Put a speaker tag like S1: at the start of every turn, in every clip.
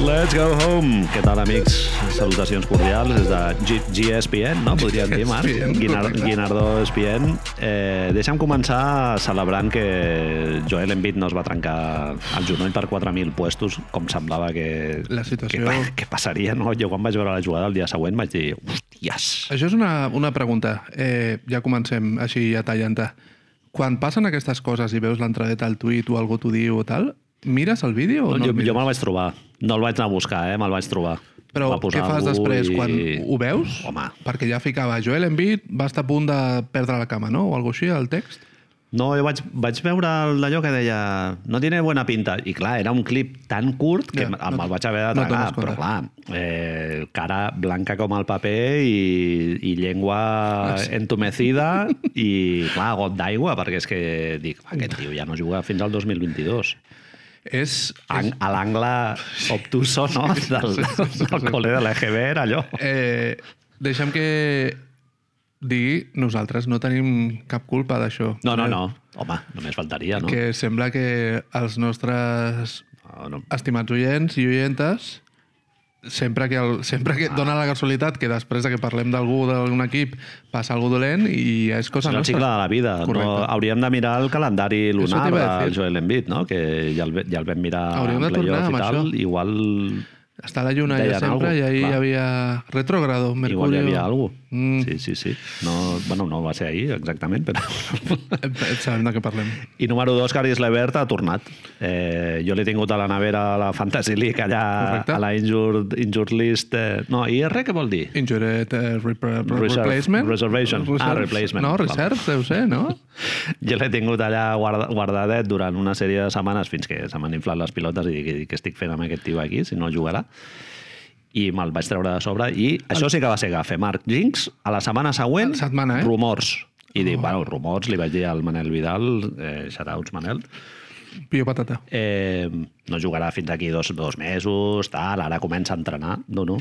S1: Let's go home. Què tal, amics? Salutacions cordials des de G GSPN, no? Podríem dir, Marc?
S2: GSPN,
S1: Guinar
S2: correcte.
S1: Guinardó ESPN. Eh, deixa'm començar celebrant que Joel Embiid no es va trencar el genoll per 4.000 puestos, com semblava que,
S2: La situació-
S1: que, que passaria, no? Jo quan vaig veure la jugada el dia següent vaig dir, hòsties,
S2: Això és una, una pregunta. Eh, ja comencem així a tallant-te. Quan passen aquestes coses i veus l'entradeta al tuit o algú t'ho diu o tal, mires el vídeo o no
S1: jo,
S2: el mires?
S1: jo me'l vaig trobar. No el vaig anar a buscar, eh? Me'l vaig trobar.
S2: Però
S1: Va posar
S2: què fas
S1: algú
S2: després,
S1: i-
S2: quan ho veus?
S1: Home.
S2: Perquè ja ficava Joel Embiid va estar a punt de perdre la cama, no? O alguna així, el text.
S1: No, jo vaig, vaig veure el- allò que deia no tiene buena pinta. I clar, era un clip tan curt que
S2: Ja,
S1: ja,
S2: no
S1: me'l
S2: t-
S1: vaig haver de
S2: no
S1: tragar.
S2: t'adones
S1: però clar, eh, cara blanca com el paper i, i
S2: Ah,
S1: llengua entumecida i clar, got d'aigua, perquè és que dic, aquest tio ja no juga fins al 2022.
S2: És,
S1: Ang, a l'angle obtuso, no?, del, del col·le de l'EGB, allò.
S2: Eh, deixa'm que digui, nosaltres no tenim cap culpa d'això. eh?
S1: No, no, no. Home, només faltaria, no?
S2: Que sembla que els nostres
S1: No, no.
S2: estimats oients i oientes sempre que, el, sempre que dona la casualitat que després de que parlem d'algú d'un equip passa algú dolent i és cosa
S1: És el cicle
S2: nostra.
S1: de la vida. No,
S2: Correcte.
S1: hauríem de mirar el calendari lunar
S2: t'hi va a
S1: del
S2: dir.
S1: Joel Embiid, no? que ja el, ve- ja el vam mirar
S2: Hauríem
S1: en
S2: de tornar
S1: playoff i
S2: amb
S1: tal.
S2: això.
S1: Igual,
S2: Està la lluna
S1: Deien
S2: ja sempre
S1: algo,
S2: i ahir
S1: clar.
S2: hi havia retrogrado, Mercurio...
S1: igual hi havia alguna cosa.
S2: Mm.
S1: Sí, sí, sí. No, bueno, no va ser ahir, exactament, però...
S2: Eh, Sabem de què parlem.
S1: I número dos, Caris Levert ha tornat. Eh, jo l'he tingut a la nevera a la Fantasy League, allà
S2: Correcte.
S1: a la injured, injured list. Eh, no, IR què vol dir?
S2: Injured eh, repre- repre-
S1: Reserve.
S2: replacement?
S1: Reservation. Ah,
S2: Reserve.
S1: replacement.
S2: No,
S1: Val.
S2: reserve, deu ser, no?
S1: Jo l'he tingut allà guarda, guardadet durant una sèrie de setmanes fins que se m'han inflat les pilotes i dic, què estic fent amb aquest tio aquí, si no jugarà? I me'l vaig treure de sobre i això sí que va ser gafe, Marc. Jinx, a la setmana següent,
S2: La setmana, eh? Oh.
S1: rumors. I dic, bueno, rumors, li vaig dir al Manel Vidal, eh, shoutouts, Manel,
S2: Pio patata.
S1: eh, no jugarà fins aquí dos, dos mesos, tal, ara comença a entrenar. No, no.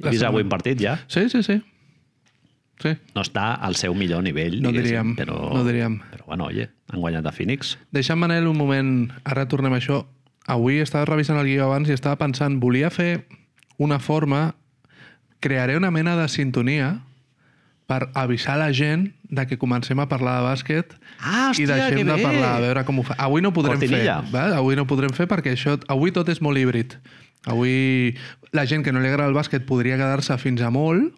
S2: La
S1: He vist avui
S2: setmana-
S1: un partit ja.
S2: Sí, sí, sí. Sí.
S1: No està al seu millor nivell,
S2: No
S1: diguéssim,
S2: diríem,
S1: però,
S2: no diríem.
S1: però bueno, oye, han guanyat a Phoenix.
S2: Deixa'm, Manel, un moment. Ara tornem a això. Avui estava revisant el guió abans i estava pensant, volia fer una forma... Crearé una mena de sintonia per avisar la gent de que comencem a parlar de bàsquet
S1: Ah, hòstia,
S2: i deixem
S1: que
S2: de
S1: bé!
S2: parlar, a veure com ho fa. Avui no podrem
S1: Cortinilla.
S2: fer, val? avui no podrem fer perquè això, avui tot és molt híbrid. Avui la gent que no li agrada el bàsquet podria quedar-se fins a molt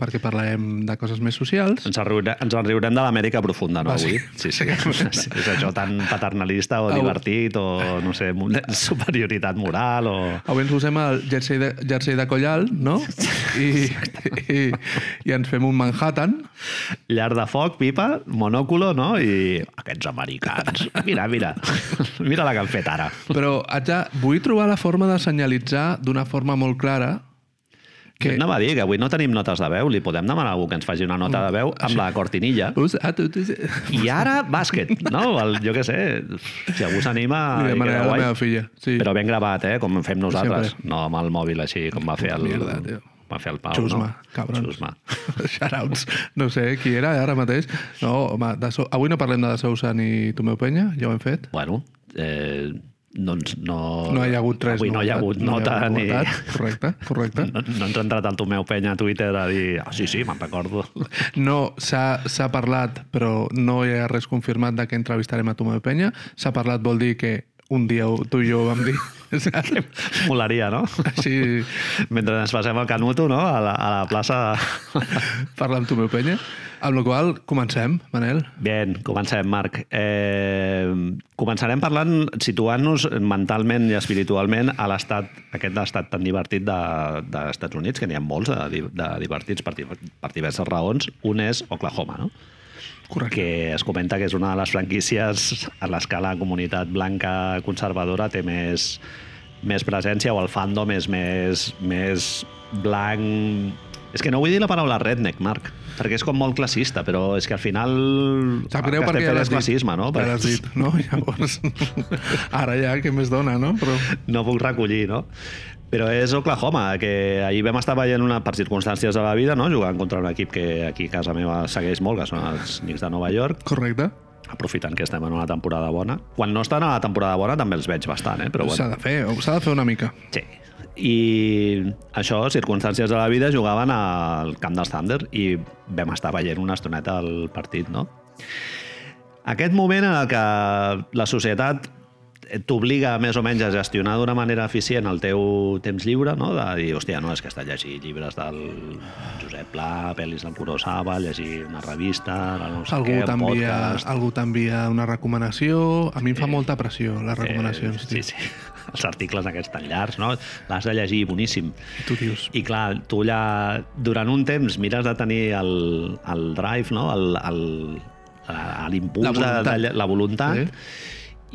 S2: perquè parlarem de coses més socials.
S1: Ens, riure, ens en riurem de l'Amèrica profunda, no, avui?
S2: Bàsic-
S1: Sí, sí. És això tan paternalista o
S2: Au.
S1: divertit o, no sé, mo- superioritat moral o...
S2: Avui ens posem el jersei de, jersei de collal, no? I, i, i ens fem un Manhattan.
S1: Llar de foc, pipa, monòculo, no? I aquests americans. Mira, mira. Mira la que han fet ara.
S2: Però haig de, vull trobar la forma de senyalitzar d'una forma molt clara
S1: Que...
S2: que...
S1: Anava a dir que avui no tenim notes de veu. Li podem demanar a algú que ens faci una nota de veu amb la cortinilla.
S2: Us, ah, tu, tu,
S1: I ara, bàsquet, no? El, jo què sé, si algú s'anima...
S2: Li
S1: i
S2: demanaré
S1: queda
S2: a la
S1: guai.
S2: meva filla, sí.
S1: Però ben gravat, eh? Com fem nosaltres.
S2: Sempre.
S1: No amb el mòbil així, com va fer el...
S2: mierda, tio.
S1: va fer el Pau,
S2: Xusma,
S1: no?
S2: cabrons.
S1: Xusma.
S2: Shoutouts. No sé qui era ara mateix. No, home, de so... avui no parlem de la Sousa ni Tomeu Penya, ja ho hem fet.
S1: Bueno, eh, doncs no...
S2: No hi ha hagut tres
S1: Avui no hi ha hagut nota
S2: novetats,
S1: ni...
S2: novetats. Correcte, correcte.
S1: No, no ens ha entrat el Tomeu Penya a Twitter a dir... Ah, sí, sí, me'n recordo.
S2: No, s'ha s'ha parlat, però no hi ha res confirmat de que entrevistarem a Tomeu Penya. S'ha parlat vol dir que un dia ho- tu i jo vam dir. saps?
S1: Molaria, no?
S2: Així
S1: Mentre ens passem el Canuto, no? A la, a la plaça...
S2: parlar amb Tomeu Penya. Amb la qual cosa, comencem, Manel.
S1: Bien, comencem, Marc. Eh, començarem parlant, situant-nos mentalment i espiritualment a l'estat, aquest estat tan divertit de, dels Estats Units, que n'hi ha molts de, di- de divertits per, di- per diverses raons. Un és Oklahoma, no?
S2: Correcte.
S1: que es comenta que és una de les franquícies a l'escala comunitat blanca conservadora té més, més presència o el fandom és més, més blanc... És que no vull dir la paraula redneck, Marc, perquè és com molt classista, però és que al final
S2: Sap
S1: el
S2: greu
S1: Ah, que
S2: perquè
S1: estem
S2: ja
S1: fent
S2: l'has
S1: és
S2: dit.
S1: classisme, no?
S2: Ja l'has dit, no? Llavors, ara ja, què més dona, no? Però...
S1: no puc recollir, no? Però és Oklahoma, que ahir vam estar veient una, per circumstàncies de la vida, no? jugant contra un equip que aquí a casa meva segueix molt, que són els Knicks de Nova York,
S2: Correcte.
S1: aprofitant que estem en una temporada bona. Quan no estan a la temporada bona també els veig bastant, eh? però
S2: S'ha
S1: bueno,
S2: de fer, s'ha de fer una mica.
S1: sí. I això, circumstàncies de la vida, jugaven al camp dels Thunder i vam estar veient una estoneta al partit, no? Aquest moment en el que la societat t'obliga més o menys a gestionar d'una manera eficient el teu temps lliure, no? de dir, hòstia, no, és que està llegint llibres del Josep Pla, pel·lis del Kurosawa, llegir una revista, de no sé
S2: Algú
S1: què, un
S2: t'envia
S1: podcast...
S2: algú t'envia una recomanació. A mi em fa molta pressió, les recomanacions.
S1: sí,
S2: tio.
S1: sí. Els articles aquests tan llargs, no? L'has de llegir boníssim.
S2: I tu dius,
S1: I clar, tu allà, durant un temps, mires de tenir el, el drive, no? El- el- la-
S2: La
S1: l'impuls de,
S2: voluntat.
S1: de, lle- la voluntat
S2: Sí.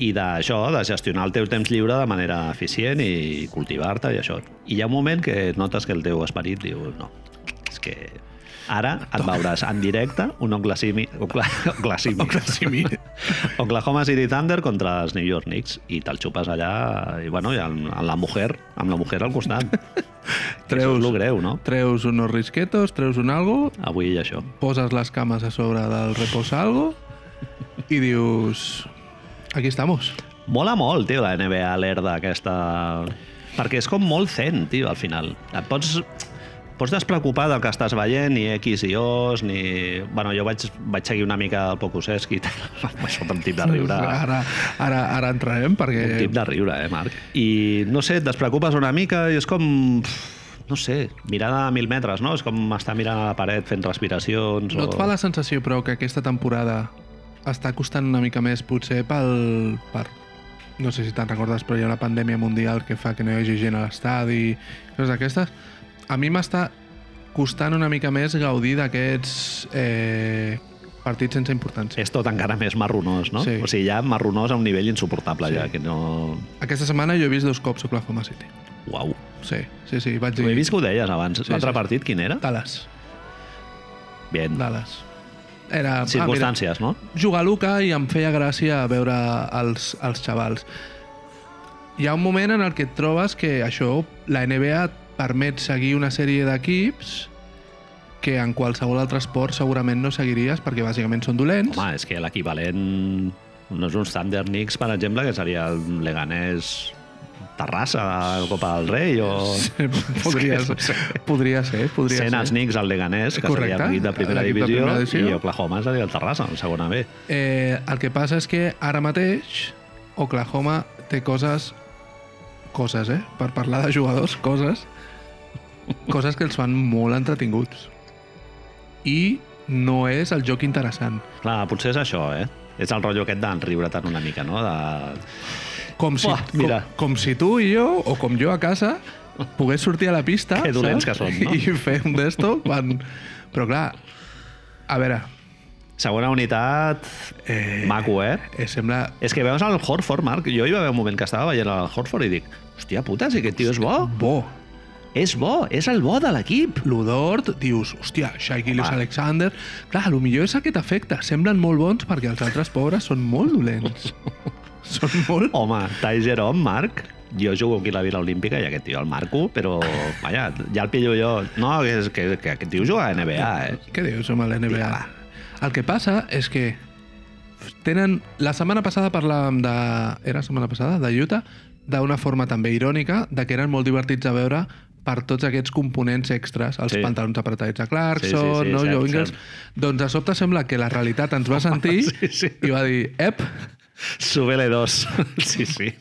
S1: i d'això, de gestionar el teu temps lliure de manera eficient i cultivar-te i això. I hi ha un moment que notes que el teu esperit diu no, és que ara et veuràs en directe un Oklahoma City, Oklahoma City,
S2: Oklahoma City.
S1: Oklahoma City Thunder contra els New York Knicks i te'l xupes allà i, bueno, i amb, amb la mujer, amb la mujer al costat. Això
S2: Treus.
S1: és el greu, no?
S2: treus unos risquetos, treus un algo,
S1: Avui i això.
S2: poses les cames a sobre del reposalgo i dius... Aquí estamos.
S1: Mola molt, tio, la NBA l'herda aquesta... Perquè és com molt zen, tio, al final. Et pots, pots despreocupar del que estàs veient, ni X i O's, ni... bueno, jo vaig, vaig seguir una mica el Pokusevski, això un tip de riure. eh?
S2: Ara, ara, ara entrarem perquè...
S1: Un tip de riure, eh, Marc? I, no sé, et despreocupes una mica i és com... pff, No sé, mirada a mil metres, no? És com estar mirant a la paret fent respiracions
S2: No
S1: o...
S2: et fa la sensació, però, que aquesta temporada està costant una mica més, potser pel... Per, no sé si te'n recordes, però hi ha una pandèmia mundial que fa que no hi hagi gent a l'estadi, coses d'aquestes. A mi m'està costant una mica més gaudir d'aquests eh, partits sense importància.
S1: És tot encara més marronós, no?
S2: Sí.
S1: O sigui, ja marronós a un nivell insuportable,
S2: Sí.
S1: ja, que no...
S2: Aquesta setmana jo he vist dos cops Oklahoma City.
S1: Uau.
S2: Sí, sí, sí, vaig
S1: Ho
S2: dir...
S1: he vist que ho deies abans.
S2: Sí, Ah,
S1: L'altre
S2: sí.
S1: partit, quin era?
S2: Dallas,
S1: Bien.
S2: Dallas. Era... ah, mira,
S1: Circumstàncies, no?
S2: jugar a l'Uca i em feia gràcia veure els, els xavals. Hi ha un moment en el que et trobes que això, la NBA et permet seguir una sèrie d'equips que en qualsevol altre esport segurament no seguiries perquè bàsicament són dolents.
S1: Home, és que l'equivalent... No és uns Thunder Knicks, per exemple, que seria el Leganés Terrassa, la Copa del Rei, o...
S2: podria,
S1: És que no sé.
S2: ser, podria ser, podria
S1: Sent els
S2: ser.
S1: Knicks el Leganés, que
S2: Correcte,
S1: seria l'equip de primera
S2: l'equip de
S1: divisió,
S2: primera divisió.
S1: i Oklahoma seria el Terrassa, el segona B.
S2: Eh, el que passa és que ara mateix Oklahoma té coses coses, eh? Per parlar de jugadors, coses coses que els fan molt entretinguts. I no és el joc interessant.
S1: Clar, potser és això, eh? És el rotllo aquest d'enriure-te'n una mica, no? De...
S2: Com si,
S1: Buah, mira.
S2: Com, com si tu i jo, o com jo a casa, pogués sortir a la pista
S1: Que dolents que som, no?
S2: i fer un d'esto quan... Però clar, a veure,
S1: Segona unitat, eh... maco, eh?
S2: eh, sembla...
S1: És que veus el Horford, Marc. Jo hi va haver un moment que estava veient el Horford i dic, hòstia puta, si aquest tio és bo.
S2: bo.
S1: És bo, és el bo de l'equip.
S2: l'Udort, dius, hòstia, Shai Gillis
S1: Home.
S2: Alexander... Clar, lo millor és aquest efecte. Semblen molt bons perquè els altres pobres són molt dolents. són molt...
S1: Home, Tai Jerome, Marc, jo jugo aquí a la Vila Olímpica i aquest tio el marco, però, vaja, ja el pillo jo. No, que, és, que, que aquest tio juga a NBA, eh?
S2: Què dius, home, la NBA?
S1: Vinga, va.
S2: El que passa és que tenen... La setmana passada parlàvem de... Era setmana passada? De Utah? D'una forma també irònica, de que eren molt divertits a veure per tots aquests components extras, els
S1: Sí.
S2: sí. pantalons apretats de Clarkson,
S1: Sí, sí, sí,
S2: no,
S1: cert,
S2: Joe Ingles...
S1: cert.
S2: Doncs de sobte sembla que la realitat ens va sentir
S1: sí, sí.
S2: i va dir, ep,
S1: Súbele dos. Sí, sí.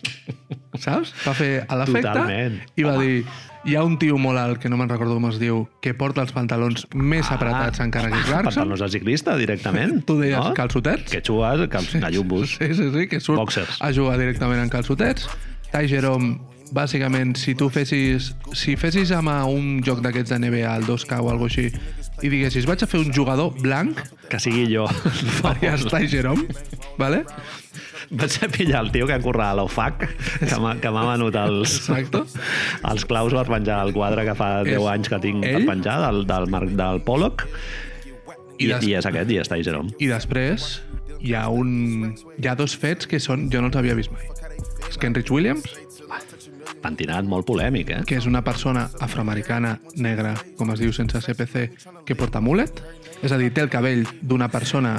S2: saps? Va fer a l'efecte
S1: Totalment.
S2: i va dir hi ha un tio molt alt, que no me'n recordo com es diu, que porta els pantalons més apretats encara que Clarkson.
S1: Ah. Pantalons Ah, de ciclista, directament.
S2: Tu deies calçotets.
S1: Que xues, calç... gallumbos.
S2: Sí, sí, sí, que surt
S1: Boxers.
S2: a jugar directament en calçotets. Ty Jerome, bàsicament, si tu fessis... Si fessis amb un joc d'aquests de NBA, al 2K o alguna així, i diguessis, vaig a fer un jugador blanc,
S1: Que sigui jo.
S2: faries Ty Jerome, vale?
S1: Vaig a pillar el tio que curra a l'OFAC, que m'ha que m'ha venut els,
S2: Exacte.
S1: els claus per penjar el quadre que fa 10
S2: És
S1: anys que tinc
S2: ell?
S1: per penjar, del, del, Marc- del Pollock.
S2: I
S1: I, I,
S2: des-
S1: és aquest, i està Jerome.
S2: I després hi ha un... Hi ha dos fets que són... Jo no els havia vist mai. És que Enrich Williams,
S1: Pentinat molt polèmic, eh?
S2: que és una persona afroamericana, negra, com es diu sense CPC, que porta mulet, és a dir, té el cabell d'una persona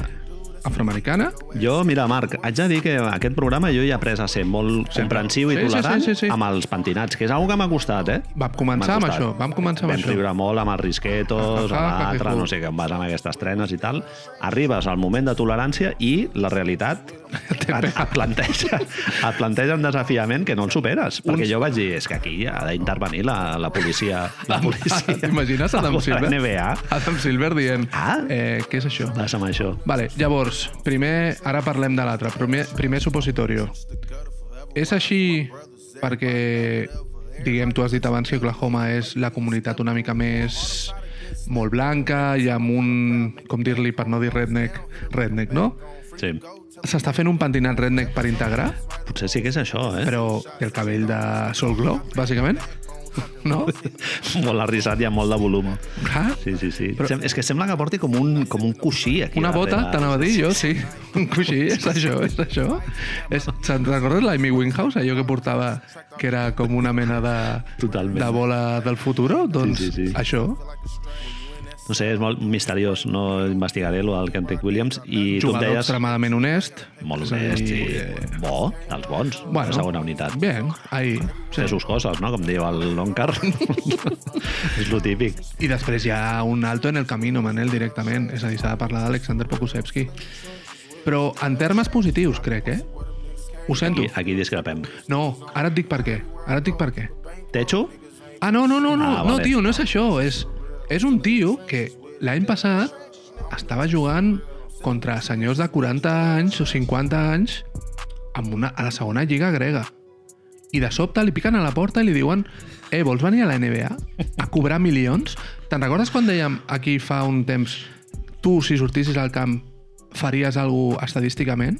S2: afroamericana.
S1: Jo, mira, Marc, haig de dir que aquest programa jo ja he après a ser molt comprensiu i
S2: Sí, sí,
S1: tolerant
S2: sí, sí, sí.
S1: amb els pentinats, que és una que m'ha costat, eh?
S2: Vam començar amb
S1: M'ha costat.
S2: això, vam començar amb
S1: Vam
S2: això.
S1: riure molt amb els risquetos, amb
S2: Ah, ah, ah,
S1: l'altre,
S2: que
S1: no sé què, em vas amb aquestes trenes i tal. Arribes al moment de tolerància i la realitat et, et, planteja, et planteja un desafiament que no el superes. Perquè jo vaig dir, és que aquí ha d'intervenir la, la policia. La policia.
S2: Ah, T'imagines Adam
S1: Algú de
S2: Silver?
S1: NBA.
S2: Adam Silver dient,
S1: Ah.
S2: eh, què és això?
S1: Vas amb això.
S2: Vale, llavors, primer, ara parlem de l'altre. Primer, primer supositorio. És així perquè, diguem, tu has dit abans que Oklahoma és la comunitat una mica més molt blanca i amb un, com dir-li, per no dir redneck, redneck, no?
S1: Sí.
S2: S'està fent un pentinat redneck per integrar,
S1: Potser sí que és això, eh?
S2: però té el cabell de Sol Glow, bàsicament, no? Ah,
S1: Molt arrissat i amb molt de volum.
S2: Clar,
S1: Sí, sí, sí.
S2: Però-
S1: Però... És que sembla que porti com un, com un coixí aquí.
S2: Una
S1: darrere.
S2: bota, t'anava a dir jo, sí. Un coixí, és això, és això. És, se'n recordes la Amy Winehouse, allò que portava, que era com una mena de,
S1: Totalment.
S2: de bola del futur? Doncs
S1: Sí, sí, sí.
S2: això.
S1: No sé, és molt misteriós. No investigaré lo del Kenrick Williams. I tu
S2: Jugador
S1: em deies...
S2: extremadament honest.
S1: Molt
S2: És a
S1: honest i
S2: dir, eh,
S1: bo, dels bons, bueno, de segona unitat. Bé,
S2: Bien, ahí.
S1: sí. Fer sus coses, no? Com diu el Loncar. és lo típic.
S2: I després hi ha un alto en el camino, Manel, directament. És a dir, s'ha de parlar d'Alexander Pokusevski. Però en termes positius, crec, eh? Ho sento.
S1: I aquí discrepem.
S2: No, ara et dic per què. Ara et dic per què.
S1: Techo?
S2: Ah, no, no, no, no,
S1: Ah,
S2: no,
S1: vale.
S2: tio, no és això. És, és un tio que l'any passat estava jugant contra senyors de 40 anys o 50 anys amb una, a la segona lliga grega. I de sobte li piquen a la porta i li diuen «Eh, vols venir a la NBA a cobrar milions?» Te'n recordes quan dèiem aquí fa un temps tu, si sortissis al camp, faries alguna cosa estadísticament?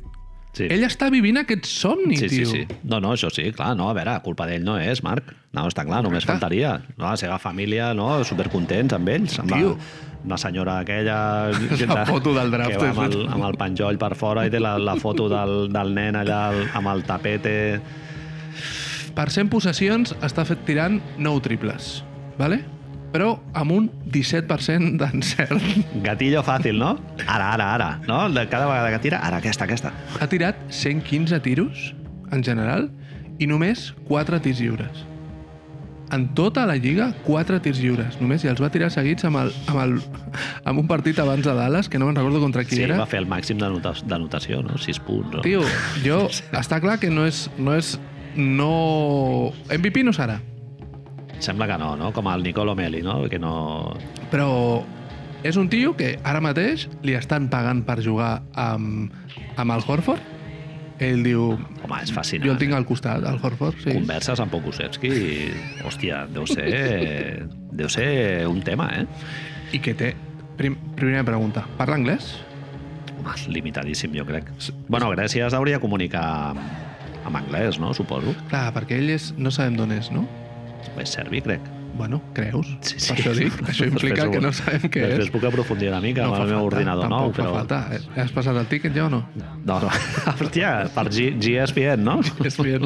S1: Sí.
S2: Ell està vivint aquest somni,
S1: Sí, sí,
S2: tio.
S1: sí. No, no, això sí, clar, no, a veure, culpa d'ell no és, Marc. No, està clar, només
S2: Correcte.
S1: faltaria. No, la seva família, no, supercontents amb ells. Amb
S2: Tio.
S1: la, la senyora aquella...
S2: La foto del draft, eh,
S1: Que va amb el,
S2: és-
S1: amb el penjoll per fora i té la, la foto del, del nen allà al- amb el tapete...
S2: per 100 possessions està fet tirant 9 triples, vale? però amb un 17% d'encert.
S1: Gatillo fàcil, no? Ara, ara, ara. No? De cada vegada que tira, ara aquesta, aquesta.
S2: Ha tirat 115 tiros, en general, i només 4 tirs lliures. En tota la lliga, 4 tirs lliures. Només i els va tirar seguits amb, el, amb, el, amb un partit abans de Dallas, que no me'n recordo contra qui
S1: Sí,
S2: era.
S1: va fer el màxim de nota- de notació, no? 6 punts. No?
S2: Tio, jo... Està clar que no és... No és no... MVP no serà,
S1: Sembla que no, no? Com el Nicolo Meli, no? Que no...
S2: però és un tio que ara mateix li estan pagant per jugar amb, amb el Horford. Ell diu...
S1: Home, és fascinant.
S2: Jo el tinc al costat, al Horford, sí.
S1: converses amb Pokusevski i, hòstia, deu ser, deu ser un tema, eh?
S2: I que té... Prim, primera pregunta. Parla anglès?
S1: Home, limitadíssim, jo crec. Bueno, Grècia s'hauria de comunicar amb- amb anglès, no? Suposo.
S2: Clar, perquè ell és... No sabem d'on és, no?
S1: És serbi, crec.
S2: Bueno, creus? Per això dic. Això
S1: Després
S2: implica
S1: ho-
S2: que no sabem què
S1: Després
S2: és.
S1: puc aprofundir una mica amb el meu ordinador nou,
S2: tampoc
S1: però...
S2: fa falta. Eh, Has passat el tiquet ja o no?
S1: No, no. Hòstia, per G GSPN, no?
S2: És bien.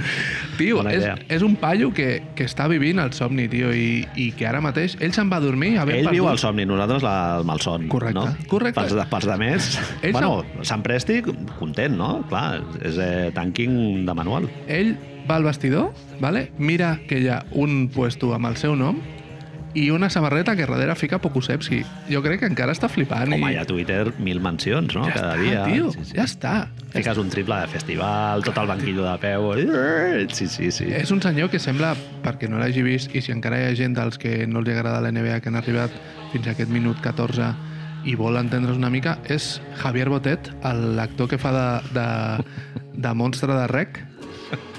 S2: Tio,
S1: Bona
S2: és,
S1: idea.
S2: és un paio que, que està vivint el somni, tio, i, i que ara mateix ell se'n va a dormir havent
S1: Ell viu
S2: perdut-
S1: el somni, nosaltres la, el malson.
S2: Correcte,
S1: No?
S2: correcte.
S1: Pels, de- pels de més...
S2: Ell
S1: bueno, Sant Presti, content, no? Clar, és eh, tanking de manual.
S2: Ell va al vestidor, vale? mira que hi ha un puesto amb el seu nom i una samarreta que darrere fica Pokusevski. Jo crec que encara està flipant.
S1: Home,
S2: i...
S1: hi ha Twitter mil mencions, no?
S2: ja
S1: Cada
S2: està,
S1: dia.
S2: Tio,
S1: Sí, sí.
S2: Ja està.
S1: Fiques un triple de festival, tot el banquillo de
S2: Eh,
S1: peu... eh? Sí, sí, sí.
S2: És un senyor que sembla, perquè no l'hagi vist, i si encara hi ha gent dels que no els agrada la NBA que han arribat fins a aquest minut 14 i vol entendre's una mica, és Javier Botet, l'actor que fa de, de, de monstre de rec.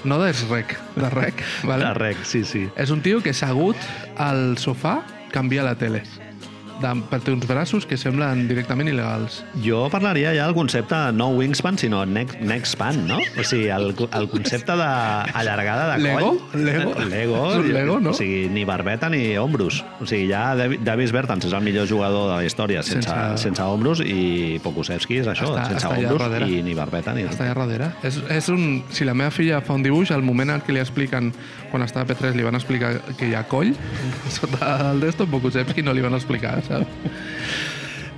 S2: No d'es rec, de rec. Vale?
S1: De rec, sí, sí.
S2: És un tio que assegut al sofà canvia la tele. De, per té uns braços que semblen directament il·legals.
S1: Jo parlaria ja del concepte no wingspan, sinó neck, neck span, no? O sigui, el, el concepte de allargada de
S2: Lego?
S1: coll.
S2: Lego?
S1: Lego.
S2: És un Lego, no?
S1: O sigui, ni barbeta ni ombros. O sigui, ja Davi- Davis Bertans és el millor jugador de la història sense,
S2: Sense-
S1: sense, sense ombros i Pokusevski és això,
S2: Està-
S1: sense
S2: està allà darrere.
S1: ombros i ni barbeta ni...
S2: Està allà darrere. És, és un... Si la meva filla fa un dibuix, al moment en què li expliquen, quan estava a P3, li van explicar que hi ha coll, sota el desto, Pokusevski no li van explicar, saps?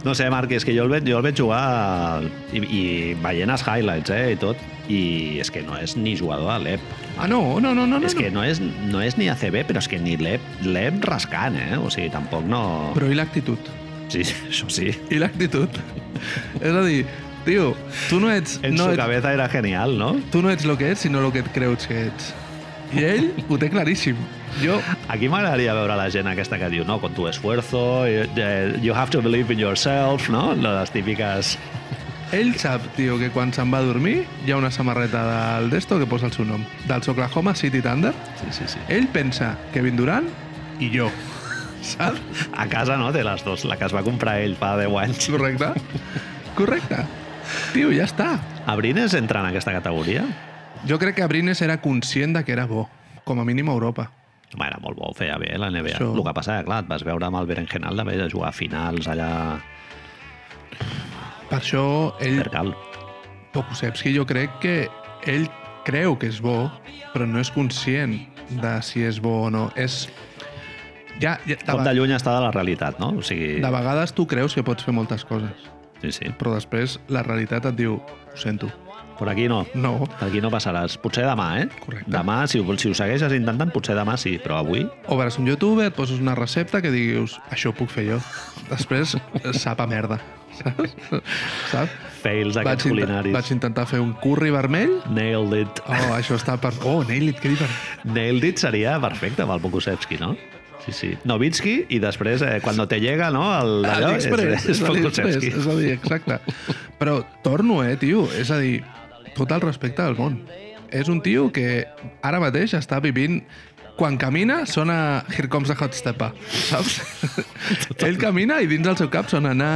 S1: No sé, Marc, és que jo el veig, jo el veig jugar i, i veient els highlights eh, i tot, i és que no és ni jugador de l'EP.
S2: Ah, no, no, no, no.
S1: és
S2: no.
S1: que no és, no és ni ACB, però és que ni l'EP l'EP rascant, eh? O sigui, tampoc no...
S2: Però i l'actitud?
S1: Sí, això sí.
S2: I l'actitud? és a dir, tio, tu no ets...
S1: En
S2: no eh,
S1: no, su
S2: ets,
S1: cabeza era genial, no?
S2: tu no ets el que ets, sinó el que et creus que ets. I ell ho té claríssim. Jo,
S1: Aquí m'agradaria veure la gent aquesta que diu, no, con tu esfuerzo, eh, you have to believe in yourself, no? Les típiques...
S2: ell sap, tio, que quan se'n va a dormir hi ha una samarreta del Desto que posa el seu nom, dels Oklahoma City Thunder.
S1: Sí, sí, sí.
S2: Ell pensa Kevin Durant i jo. Saps?
S1: A casa no té les dues, la que es va comprar ell fa 10 anys.
S2: Correcte? Correcte. Tio, ja està.
S1: Abrines entra en aquesta categoria?
S2: Jo crec que Brines era conscient de que era bo, com a mínim a Europa.
S1: Home, era molt bo, ho feia bé, la NBA.
S2: Això.
S1: El que passa, clar, et vas veure amb el Berenjenal d'haver de jugar a finals allà
S2: Per això ell
S1: per cal.
S2: Pokusevski jo crec que ell creu que és bo, però no és conscient de si és bo o no. És... Ja, ja de,
S1: Cop
S2: ve-
S1: de lluny està de la realitat, no? O sigui,
S2: de vegades tu creus que pots fer moltes coses,
S1: sí, sí.
S2: però després la realitat et diu ho sento.
S1: Per aquí no.
S2: No,
S1: Per aquí no passaràs. Potser demà, eh?
S2: Correcte.
S1: Demà, si, ho- si ho segueixes intentant, potser demà sí, però avui...
S2: o veuràs un youtuber, et poses una recepta que diguis això ho puc fer jo. Després sap a merda. Saps? Saps?
S1: Fails
S2: Vaig,
S1: aquests
S2: inten-
S1: culinaris.
S2: vaig intentar fer un curri vermell
S1: Nailed it.
S2: Oh, això està per... Oh, Nailit, que per...
S1: Nailed it seria perfecte amb el Pokusevski, no? Sí, sí. Novitski i després, eh, quan te llega, no? El d'allò és, és, és
S2: AliExpress,
S1: Pokusevski.
S2: és a dir, exacte. Però torno, eh, tio, és a dir, tot el respecte del món. És un tio que ara mateix està vivint quan camina sona Here Comes the Hot Stepper, saps? Ell camina i dins del seu cap sona na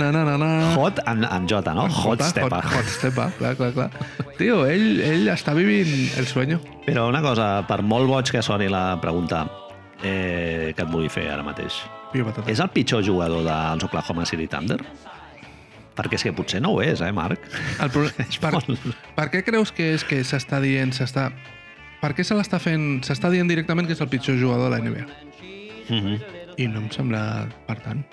S2: na na na na
S1: Hot amb, amb Jota, no? Hot,
S2: Jota,
S1: stepa.
S2: Hot, hot Stepper, clar, clar, clar. Tio, ell, ell està vivint el sueño.
S1: Però una cosa, per molt boig que soni la pregunta eh, que et vull fer ara mateix,
S2: Pio patata.
S1: és el pitjor jugador dels Oklahoma City Thunder? Perquè és que potser no ho és, eh, Marc?
S2: El problema és per, per què creus que és que s'està dient, s'està... Per què se l'està fent... S'està dient directament que és el pitjor jugador de la NBA.
S1: Mm -hmm.
S2: I no em sembla, per tant,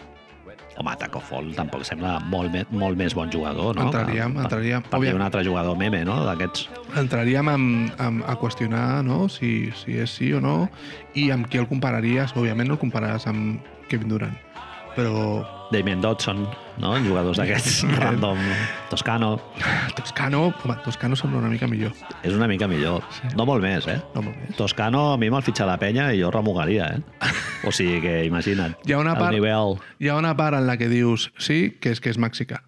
S1: Home, Taco Fall tampoc sembla molt, me, molt més bon jugador, no?
S2: Entraríem, entraríem.
S1: Per, per dir
S2: Òbviament.
S1: un altre jugador meme, no? D'aquests...
S2: entraríem en, en, a qüestionar no? si, si és sí o no i amb qui el compararies. Òbviament no el compararàs amb Kevin Durant, però
S1: Damien Dodson, no? Jugadors d'aquests random. Toscano.
S2: Toscano, home, Toscano sembla una mica millor.
S1: És una mica millor. No molt més, eh?
S2: No molt més.
S1: Toscano a mi me'l fitxa la penya i jo remugaria, eh? O sigui que imagina't.
S2: Hi ha una part-
S1: El nivell...
S2: Hi ha una part en la que dius sí, que és que és mexicà.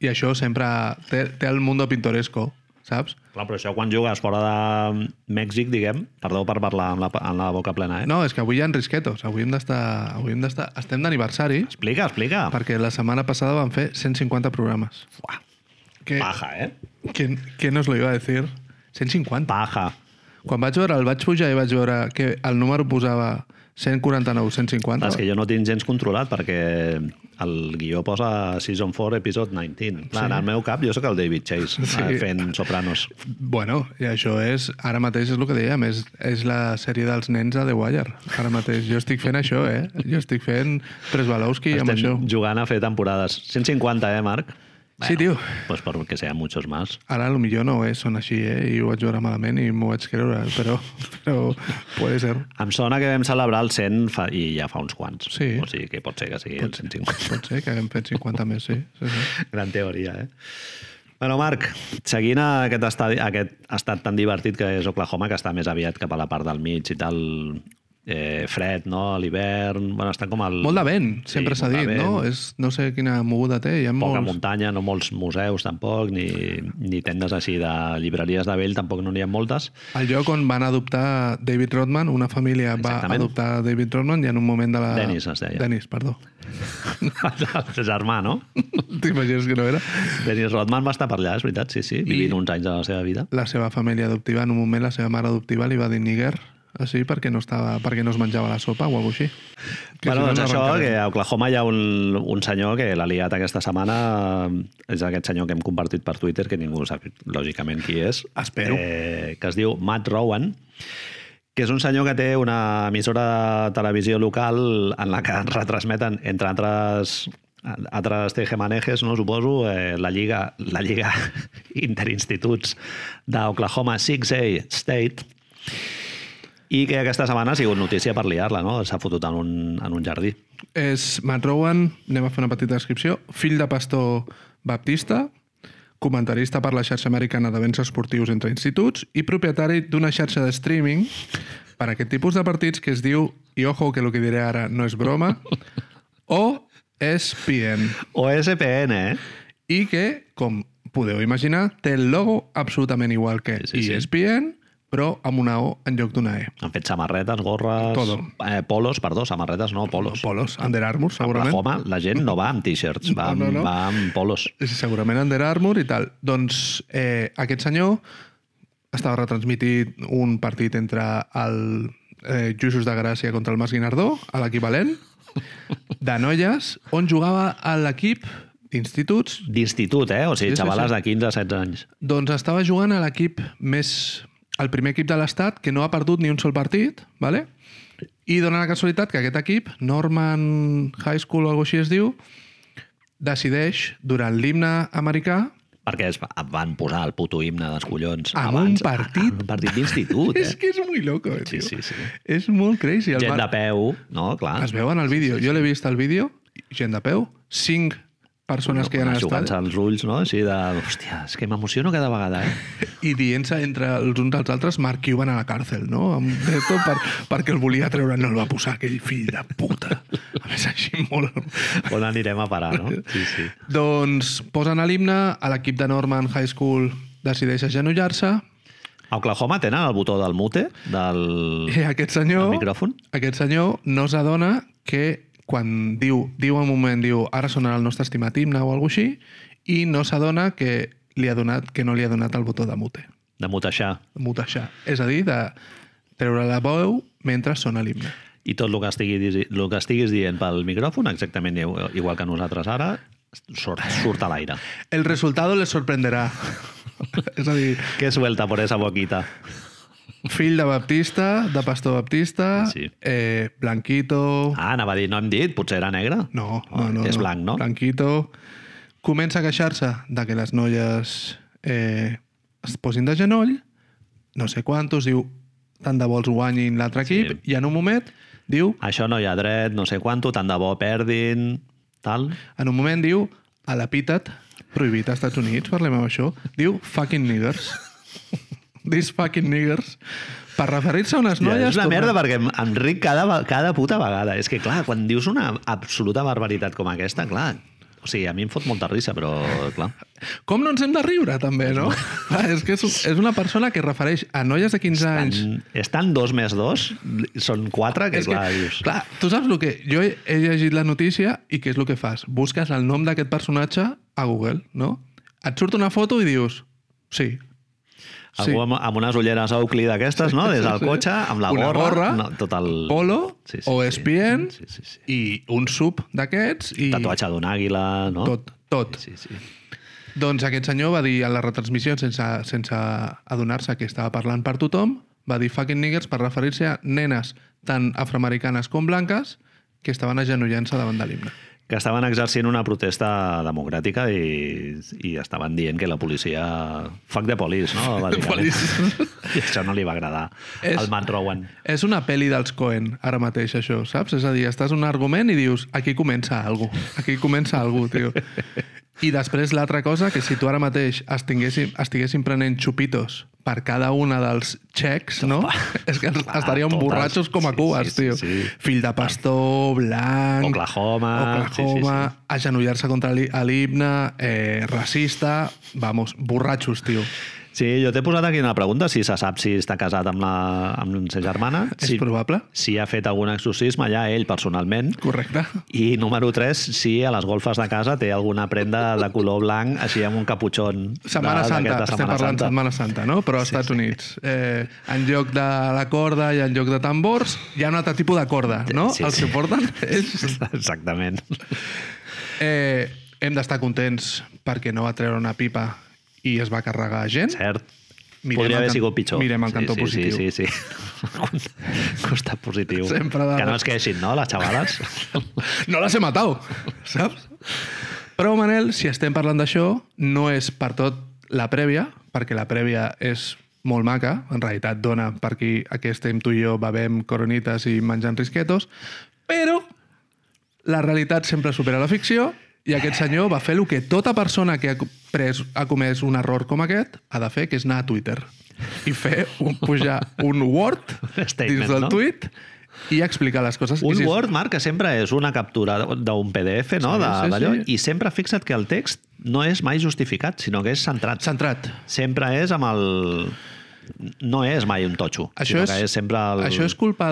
S2: I això sempre té, té el mundo pintoresco, saps?
S1: Clar, però això quan jugues fora de Mèxic, diguem, perdó per parlar amb la, amb la boca plena, eh?
S2: No, és que avui hi ha risquetos. Avui hem d'estar... Avui hem d'estar... Estem d'aniversari
S1: Explica, explica. Per...
S2: perquè la setmana passada vam fer 150 programes.
S1: Uah,
S2: Que,
S1: paja, eh?
S2: que, que no us lo iba a decir? 150.
S1: Paja.
S2: Quan vaig veure, el vaig pujar i vaig veure que el número posava 149,
S1: Clar,
S2: 150.
S1: és que jo no tinc gens controlat perquè el guió posa Season 4, Episode 19. Clar, sí. en el meu cap jo sóc el David Chase
S2: Sí.
S1: sí. fent Sopranos.
S2: Bueno, i això és... Ara mateix és el que dèiem, és, és la sèrie dels nens a The Wire. Ara mateix jo estic fent això, eh? Jo estic fent Presbalowski amb això.
S1: jugant a fer temporades. 150, eh, Marc?
S2: Sí, tio.
S1: Pues por que sean muchos más.
S2: Ara lo millor no és, són així, eh? I ho vaig veure malament i m'ho vaig creure, però, però puede ser.
S1: Em sona que vam celebrar el 100 fa, i ja fa uns quants.
S2: Sí.
S1: O sigui que pot ser que sigui el 150.
S2: Pot ser que haguem fet 50 més, sí. sí, sí.
S1: Gran teoria, eh? Bueno, Marc, seguint a aquest, estadi, a aquest estat tan divertit que és Oklahoma, que està més aviat cap a la part del mig i tal, eh, fred, no?, a l'hivern... Bueno, està com al...
S2: Molt de vent,
S1: Sí,
S2: sempre s'ha
S1: molt de
S2: dit,
S1: vent.
S2: no? És, no sé quina moguda té, hi ha
S1: Poca
S2: molts...
S1: muntanya, no molts museus tampoc, ni, ni tendes així de llibreries de vell, tampoc no n'hi ha moltes.
S2: El lloc on van adoptar David Rodman, una família va
S1: Exactament.
S2: adoptar David Rodman i en un moment de la...
S1: Dennis es deia.
S2: Dennis, perdó.
S1: El germà, no?
S2: T'imagines que no era?
S1: Dennis Rodman va estar per allà, és veritat, sí, sí, vivint uns anys de la seva vida.
S2: La seva família adoptiva, en un moment la seva mare adoptiva li va dir nigger, així perquè no, estava, perquè no es menjava la sopa o alguna així. Que
S1: bueno,
S2: si no,
S1: doncs
S2: no
S1: això,
S2: arrencarà.
S1: que a Oklahoma hi ha un, un senyor que l'ha liat aquesta setmana, és aquest senyor que hem compartit per Twitter, que ningú sap lògicament qui és.
S2: Espero.
S1: Eh, que es diu Matt Rowan, que és un senyor que té una emissora de televisió local en la que retransmeten, entre altres altres tejemanejes, no? suposo, eh, la lliga, la lliga interinstituts d'Oklahoma 6A State, i que aquesta setmana ha sigut notícia per liar-la, no? S'ha fotut en un, en un jardí.
S2: És Matt Rowan, anem a fer una petita descripció, fill de pastor baptista, comentarista per la xarxa americana d'events esportius entre instituts i propietari d'una xarxa de streaming per a aquest tipus de partits que es diu, i ojo que el que diré ara no és broma, o E ESPN,
S1: O SPN, eh?
S2: i que, com podeu imaginar, té el logo absolutament igual que E
S1: Sí, sí, sí.
S2: ESPN, però amb una O en lloc d'una E.
S1: Han fet samarretes, gorres...
S2: Todo.
S1: Eh, polos, perdó, samarretes no, polos.
S2: Polos, Under Armour,
S1: La
S2: segurament.
S1: Joma, la gent no va amb t-shirts, va,
S2: No,
S1: no,
S2: no, no.
S1: va amb polos.
S2: Segurament Under Armour i tal. Doncs eh, aquest senyor estava retransmitit un partit entre el eh, Lluïsos de Gràcia contra el Mas Guinardó, a l'equivalent, de noies, on jugava a l'equip d'instituts,
S1: D'institut, eh? O sigui,
S2: Sí, sí,
S1: xavales
S2: sí.
S1: de 15 a 16 anys.
S2: doncs estava jugant a l'equip més... el primer equip de l'estat, que no ha perdut ni un sol partit, ¿vale? i dona la casualitat que aquest equip, Norman High School o alguna així es diu, decideix, durant l'himne americà,
S1: Perquè es va- van posar el puto himne dels collons
S2: Amb
S1: abans. Ah,
S2: un partit?
S1: Amb un partit d'institut, eh?
S2: És que és molt loco, eh,
S1: Sí,
S2: tio.
S1: sí, sí.
S2: És molt crazy. El
S1: Gent de
S2: mar-
S1: peu, no? Clar.
S2: Es veu en el vídeo. Jo l'he vist al vídeo. Gent de peu. Cinc persones que hi ha a
S1: Jugant-se
S2: l'estadi
S1: els ulls, no? Així de... Hòstia, és que m'emociono cada vegada, eh?
S2: i dient-se entre els uns als altres Mark Cuban a la càrcel, no? Amb de tot per, perquè el volia treure, no el va posar aquell fill de puta. A més, així molt...
S1: On anirem a parar, no? Sí, sí.
S2: Doncs posen a l'himne, a l'equip de Norman High School decideix agenollar-se,
S1: A Oklahoma tenen el botó del mute, del...
S2: i aquest
S1: El
S2: senyor...
S1: Mm. micròfon?
S2: Aquest senyor no s'adona que quan diu, diu en un moment, diu, ara sonarà el nostre estimat himne o alguna així, i no s'adona que li ha donat que no li ha donat el botó de mute,
S1: de mutejar.
S2: de mutejar. És a dir, de treure la veu mentre sona l'himne.
S1: I tot el que, estigui, disi- el que estiguis dient pel micròfon, exactament iu- igual que nosaltres ara, surt, surt a l'aire.
S2: El resultat les sorprenderà. és a dir,
S1: Que suelta por esa boquita.
S2: fill de baptista, de pastor baptista,
S1: Sí.
S2: eh, blanquito...
S1: Ah, anava a dir, no hem dit, potser era negre.
S2: No, no, no.
S1: És
S2: no.
S1: blanc, no?
S2: Blanquito. Comença a queixar-se de que les noies eh, es posin de genoll, no sé quantos, diu, tant de vols guanyin l'altre equip,
S1: Sí.
S2: i en un moment diu,
S1: Això no hi ha dret, no sé quanto, tant de bo perdin, tal.
S2: en un moment diu, a l'epítet, prohibit als Estats Units, parlem amb això, diu fucking niggers. These fucking niggers. Per referir-se a unes
S1: No, ja
S2: noies...
S1: és una
S2: torna-
S1: merda perquè em, em ric cada, ve- cada puta vegada. És que, clar, quan dius una absoluta barbaritat com aquesta, clar, o sigui, a mi em fot molta risa, però, clar...
S2: Com no ens hem de riure, també, no? Clar, és que és, és una persona que refereix a noies de 15 anys
S1: Tan, estan dos més dos, són quatre, que,
S2: És
S1: clar, dius...
S2: clar, tu saps el que... Jo he, he llegit la notícia i què és el que fas? Busques el nom d'aquest personatge a Google, no? Et surt una foto i dius... Sí.
S1: Algú amb, amb unes ulleres Oakley d'aquestes, no? Des del cotxe, amb la
S2: Una
S1: gorra,
S2: gorra,
S1: no, tot el...
S2: Polo
S1: Sí, sí,
S2: o
S1: sí.
S2: ESPN
S1: Sí, sí, sí.
S2: i un sub d'aquests i...
S1: Tatuatge d'un àguila, no?
S2: Tot, tot.
S1: Sí, sí.
S2: Doncs aquest senyor va dir a la retransmissió, sense, sense adonar-se que estava parlant per tothom, va dir fucking niggers per referir-se a nenes tant afroamericanes com blanques que estaven agenollant-se davant de l'himne.
S1: Que estaven exercint una protesta democràtica i, i estaven dient que la policia... Fuck de police, no? Bàsicament.
S2: Police.
S1: I això no li va agradar
S2: És-
S1: al Matt Rowan.
S2: És una pel·li dels Cohen, ara mateix, això, saps? És a dir, estàs en un argument i dius, aquí comença algú, aquí comença algú, tio. I després l'altra cosa, que si tu ara mateix estiguéssim, estiguéssim prenent xupitos per cada una dels xecs, no? És que
S1: clar,
S2: estaríem
S1: totes.
S2: borratxos com a
S1: Sí, sí,
S2: cubes,
S1: sí,
S2: tio.
S1: sí.
S2: Fill de pastor, blanc...
S1: Oklahoma, sí, sí,
S2: Oklahoma,
S1: sí.
S2: agenollar-se contra l'hi- a l'himne, eh, racista... Vamos, borratxos, tio.
S1: Sí, jo t'he posat aquí una pregunta, si se sap si està casat amb la, amb la germana,
S2: És
S1: si,
S2: probable?
S1: si ha fet algun exorcisme ja ell personalment,
S2: Correcte.
S1: I número 3, si a les golfes de casa té alguna prenda de color blanc, així amb un caputxón.
S2: Setmana
S1: de-
S2: Santa,
S1: d'aquesta
S2: estem parlant de Setmana Santa, no? Però als Estats Units. Eh, en lloc de la corda i en lloc de tambors, hi ha un altre tipus de corda, no?
S1: Sí,
S2: Sí, Els
S1: sí.
S2: que porten ells.
S1: Exactament.
S2: Eh, hem d'estar contents perquè no va treure una pipa i es va carregar gent.
S1: Cert.
S2: Mirem
S1: Podria
S2: el
S1: haver
S2: can-
S1: sigut pitjor.
S2: mirem el cantó
S1: sí,
S2: positiu.
S1: Sí, sí, sí. Costat positiu.
S2: Sempre de-
S1: Que no es queixin, no, les xavales?
S2: No les he matat, saps? Però, Manel, si estem parlant d'això, no és per tot la prèvia, perquè la prèvia és molt maca, en realitat dona per aquí a què estem tu i jo bevem coronites i menjant risquetos, però la realitat sempre supera la ficció i aquest senyor va fer el que tota persona que ha, pres, ha comès un error com aquest ha de fer, que és anar a Twitter i fer un, pujar un Word
S1: Statement,
S2: dins del
S1: no?
S2: tuit i explicar les coses. I
S1: Un
S2: si-
S1: Word, Marc, que sempre és una captura d'un PDF, no?
S2: Sí,
S1: de,
S2: sí,
S1: d'allò,
S2: sí.
S1: I sempre fixa't que el text no és mai justificat, sinó que és centrat.
S2: Centrat.
S1: Sempre és amb el... No és mai un totxo,
S2: Això
S1: sinó
S2: és,
S1: que és sempre el...
S2: això és culpa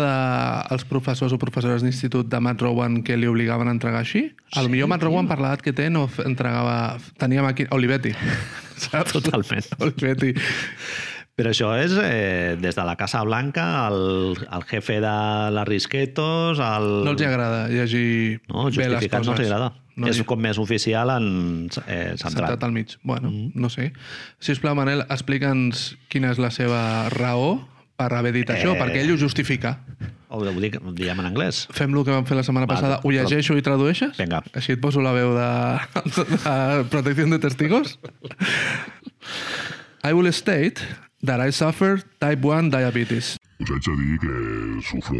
S2: dels professors o professores d'institut de Matt Rowan que li obligaven a entregar així? El millor Matt Rowan, per l'edat que té, no f- entregava... Tenia maqui... Olivetti. Saps?
S1: Totalment.
S2: Olivetti.
S1: Però això és eh, des de la Casa Blanca, el, el jefe de la Risquetos, el...
S2: No els hi agrada llegir
S1: no,
S2: bé les
S1: justificat
S2: coses.
S1: no els agrada.
S2: No
S1: No, és
S2: hi-
S1: com més oficial en eh, centrat. Mm.
S2: Centrat al mig. Bueno, no sé. Si us plau, Manel, explica'ns quina és la seva raó per haver dit això,
S1: Eh.
S2: perquè ell ho justifica.
S1: Ho, ho, dic, ho diem en anglès.
S2: Fem lo que vam fer la setmana
S1: Val,
S2: passada, ho
S1: però-
S2: llegeixo i tradueixes?
S1: Vinga.
S2: Així et poso la veu de, de protecció de testigos. I will state that I suffer type 1 diabetes.
S3: Us haig de dir que sufro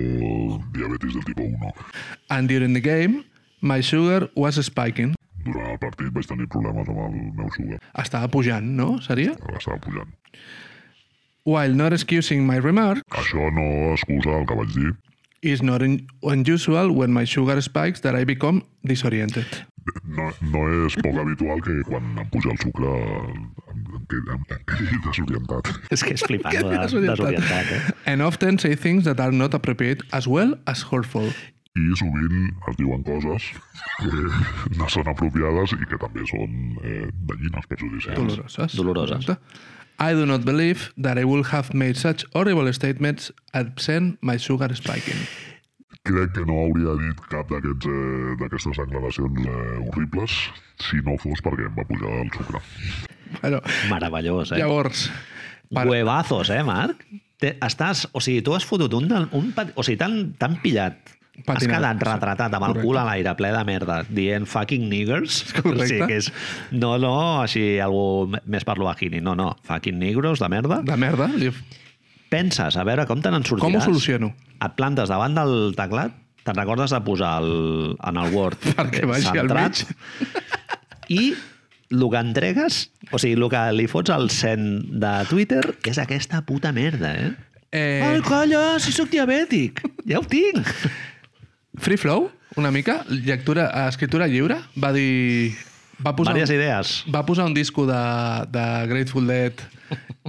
S3: diabetes del tipus 1.
S2: And during the game, my sugar was spiking.
S3: Durant el partit vaig tenir problemes amb el meu sugar.
S2: Estava pujant, no? Seria?
S3: Estava pujant.
S2: While not excusing my remark,
S3: Això no excusa el que vaig dir.
S2: is not un- unusual when my sugar spikes that I become disoriented.
S3: No, no és poc habitual que quan em puja el sucre em, em, quedi- em, em quedi desorientat.
S1: És que és flipant,
S2: Quedi
S1: de-
S2: desorientat.
S1: Ah, desorientat. Eh?
S2: And often say things that are not appropriate as well as hurtful.
S3: I sovint es diuen coses que no són apropiades i que també són eh, dañines, perjudicials.
S2: Doloroses.
S1: Doloroses.
S2: Correcte. I do not believe that I will have made such horrible statements absent my sugar spiking.
S3: Crec que no hauria dit cap d'aquests, eh, d'aquestes declaracions eh, horribles si no fos perquè em va pujar el sucre.
S2: Bueno,
S1: Meravellós, eh?
S2: llavors, per-
S1: Huevazos, eh, Marc? Te, estàs, o sigui, tu has fotut un... del- un pat- o sigui, t'han t'han pillat. Patinat. Has
S2: Patinat,
S1: quedat
S2: sí.
S1: retratat amb el
S2: Correcte.
S1: cul a l'aire ple de merda, dient fucking niggers.
S2: Correcte.
S1: O sigui, que és, no, no, així algú m- més per lo bajini. No, no, fucking negros de merda.
S2: de merda, li-
S1: Penses, a veure, com te n'en sortiràs?
S2: com ho soluciono?
S1: Et plantes davant del teclat, te'n recordes de posar el, en el Word eh,
S2: Perquè vagi al
S1: centrat, i el que entregues, o sigui, el que li fots al sent de Twitter és aquesta puta merda, eh?
S2: Eh.
S1: eh... Ai, colla, si sóc diabètic! Ja ho tinc!
S2: Free flow, una mica, lectura, escritura lliure, va dir... Va posar,
S1: Vàries
S2: un,
S1: idees.
S2: va posar un disco de, de Grateful Dead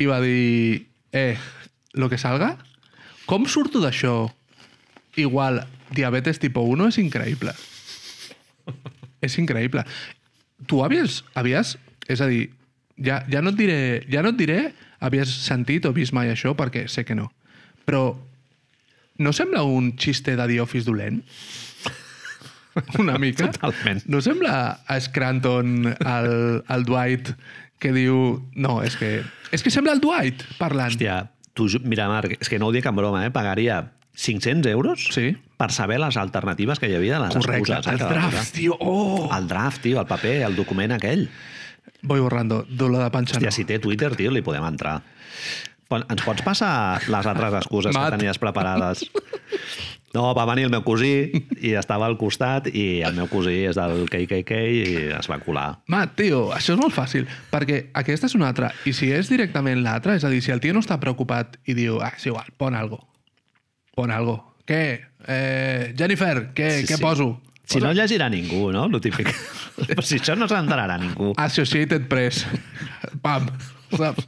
S2: i va dir... Eh, lo que salga? Com surto d'això? Igual, diabetes tipo 1 és increïble. És increïble. Tu havies... havies és a dir, ja, ja, no et diré, ja no et diré havies sentit o vist mai això, perquè sé que no. Però no sembla un xiste de The Office dolent? Una mica.
S1: Totalment.
S2: No sembla a Scranton, al, al Dwight, que diu... No, és que... És que sembla el Dwight parlant.
S1: Hòstia, tu, ju- mira, Marc, és que no ho dic en broma, eh? Pagaria 500 euros
S2: Sí.
S1: per saber les alternatives que hi havia de les
S2: Correcte,
S1: excuses. eh,
S2: el
S1: que va
S2: draft,
S1: posar.
S2: tio. Oh!
S1: El draft, tio, el paper, el document aquell.
S2: Voy borrando, dolor de panxa.
S1: Hòstia, si té Twitter, tio, li podem entrar. Pon- Ens pots passar les altres excuses
S2: Mat.
S1: que tenies preparades? No, va venir el meu cosí i estava al costat i el meu cosí és del KKK i es va colar.
S2: Ma, tio, això és molt fàcil, perquè aquesta és una altra, i si és directament l'altra, és a dir, si el tio no està preocupat i diu, ah, és igual, pon algo, pon algo. Què? Eh, Jennifer, què, sí,
S1: Sí,
S2: què
S1: sí.
S2: sí. poso?
S1: Si no llegirà ningú, no? Lo típic. Però si això no s'entrarà ningú.
S2: Ah, Associated Press. Pam, saps?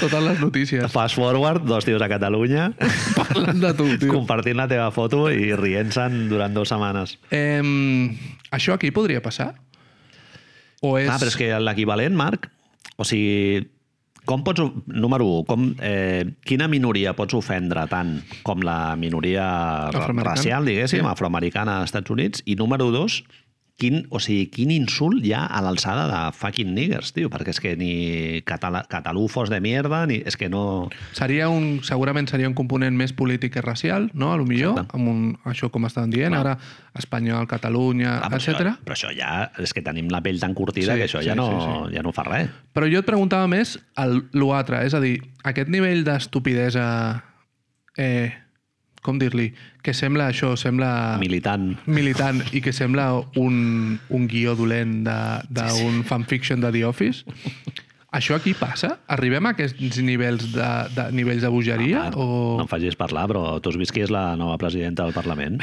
S2: Totes les notícies.
S1: Fast forward, dos tios a Catalunya
S2: Parlant de tu, tio.
S1: compartint la teva foto i rient-se'n durant dues setmanes.
S2: Eh, això aquí podria passar? O és...
S1: Clar, Ah, però és que l'equivalent, Marc, o sigui, com pots... Número 1, com, eh, quina minoria pots ofendre tant com la minoria ra-
S2: Afroamericana.
S1: racial, diguéssim,
S2: Sí.
S1: afroamericana als Estats Units? I número 2, quin, o sigui, quin insult hi ha a l'alçada de fucking niggers, tio, perquè és que ni catala, catalufos de mierda, ni... És que no...
S2: Seria un, segurament seria un component més polític que racial, no? A lo millor,
S1: Exacte.
S2: amb un, això com estàvem dient,
S1: Clar.
S2: ara espanyol, Catalunya,
S1: Clar,
S2: etc.
S1: Això, però això ja... És que tenim la pell tan curtida
S2: Ah, Sí,
S1: que això
S2: sí,
S1: ja, no,
S2: sí,
S1: ja no fa res.
S2: Però jo et preguntava més el- l'altre, és a dir, aquest nivell d'estupidesa, eh, com dir-li, que sembla això, sembla
S1: Militant.
S2: militant i que sembla un, un guió dolent de- d'un fanfiction de The Office, això aquí passa? Arribem a aquests nivells de, de, nivells de bogeria?
S1: Marc,
S2: o...
S1: No em facis parlar, però tu has vist qui és la nova presidenta del Parlament?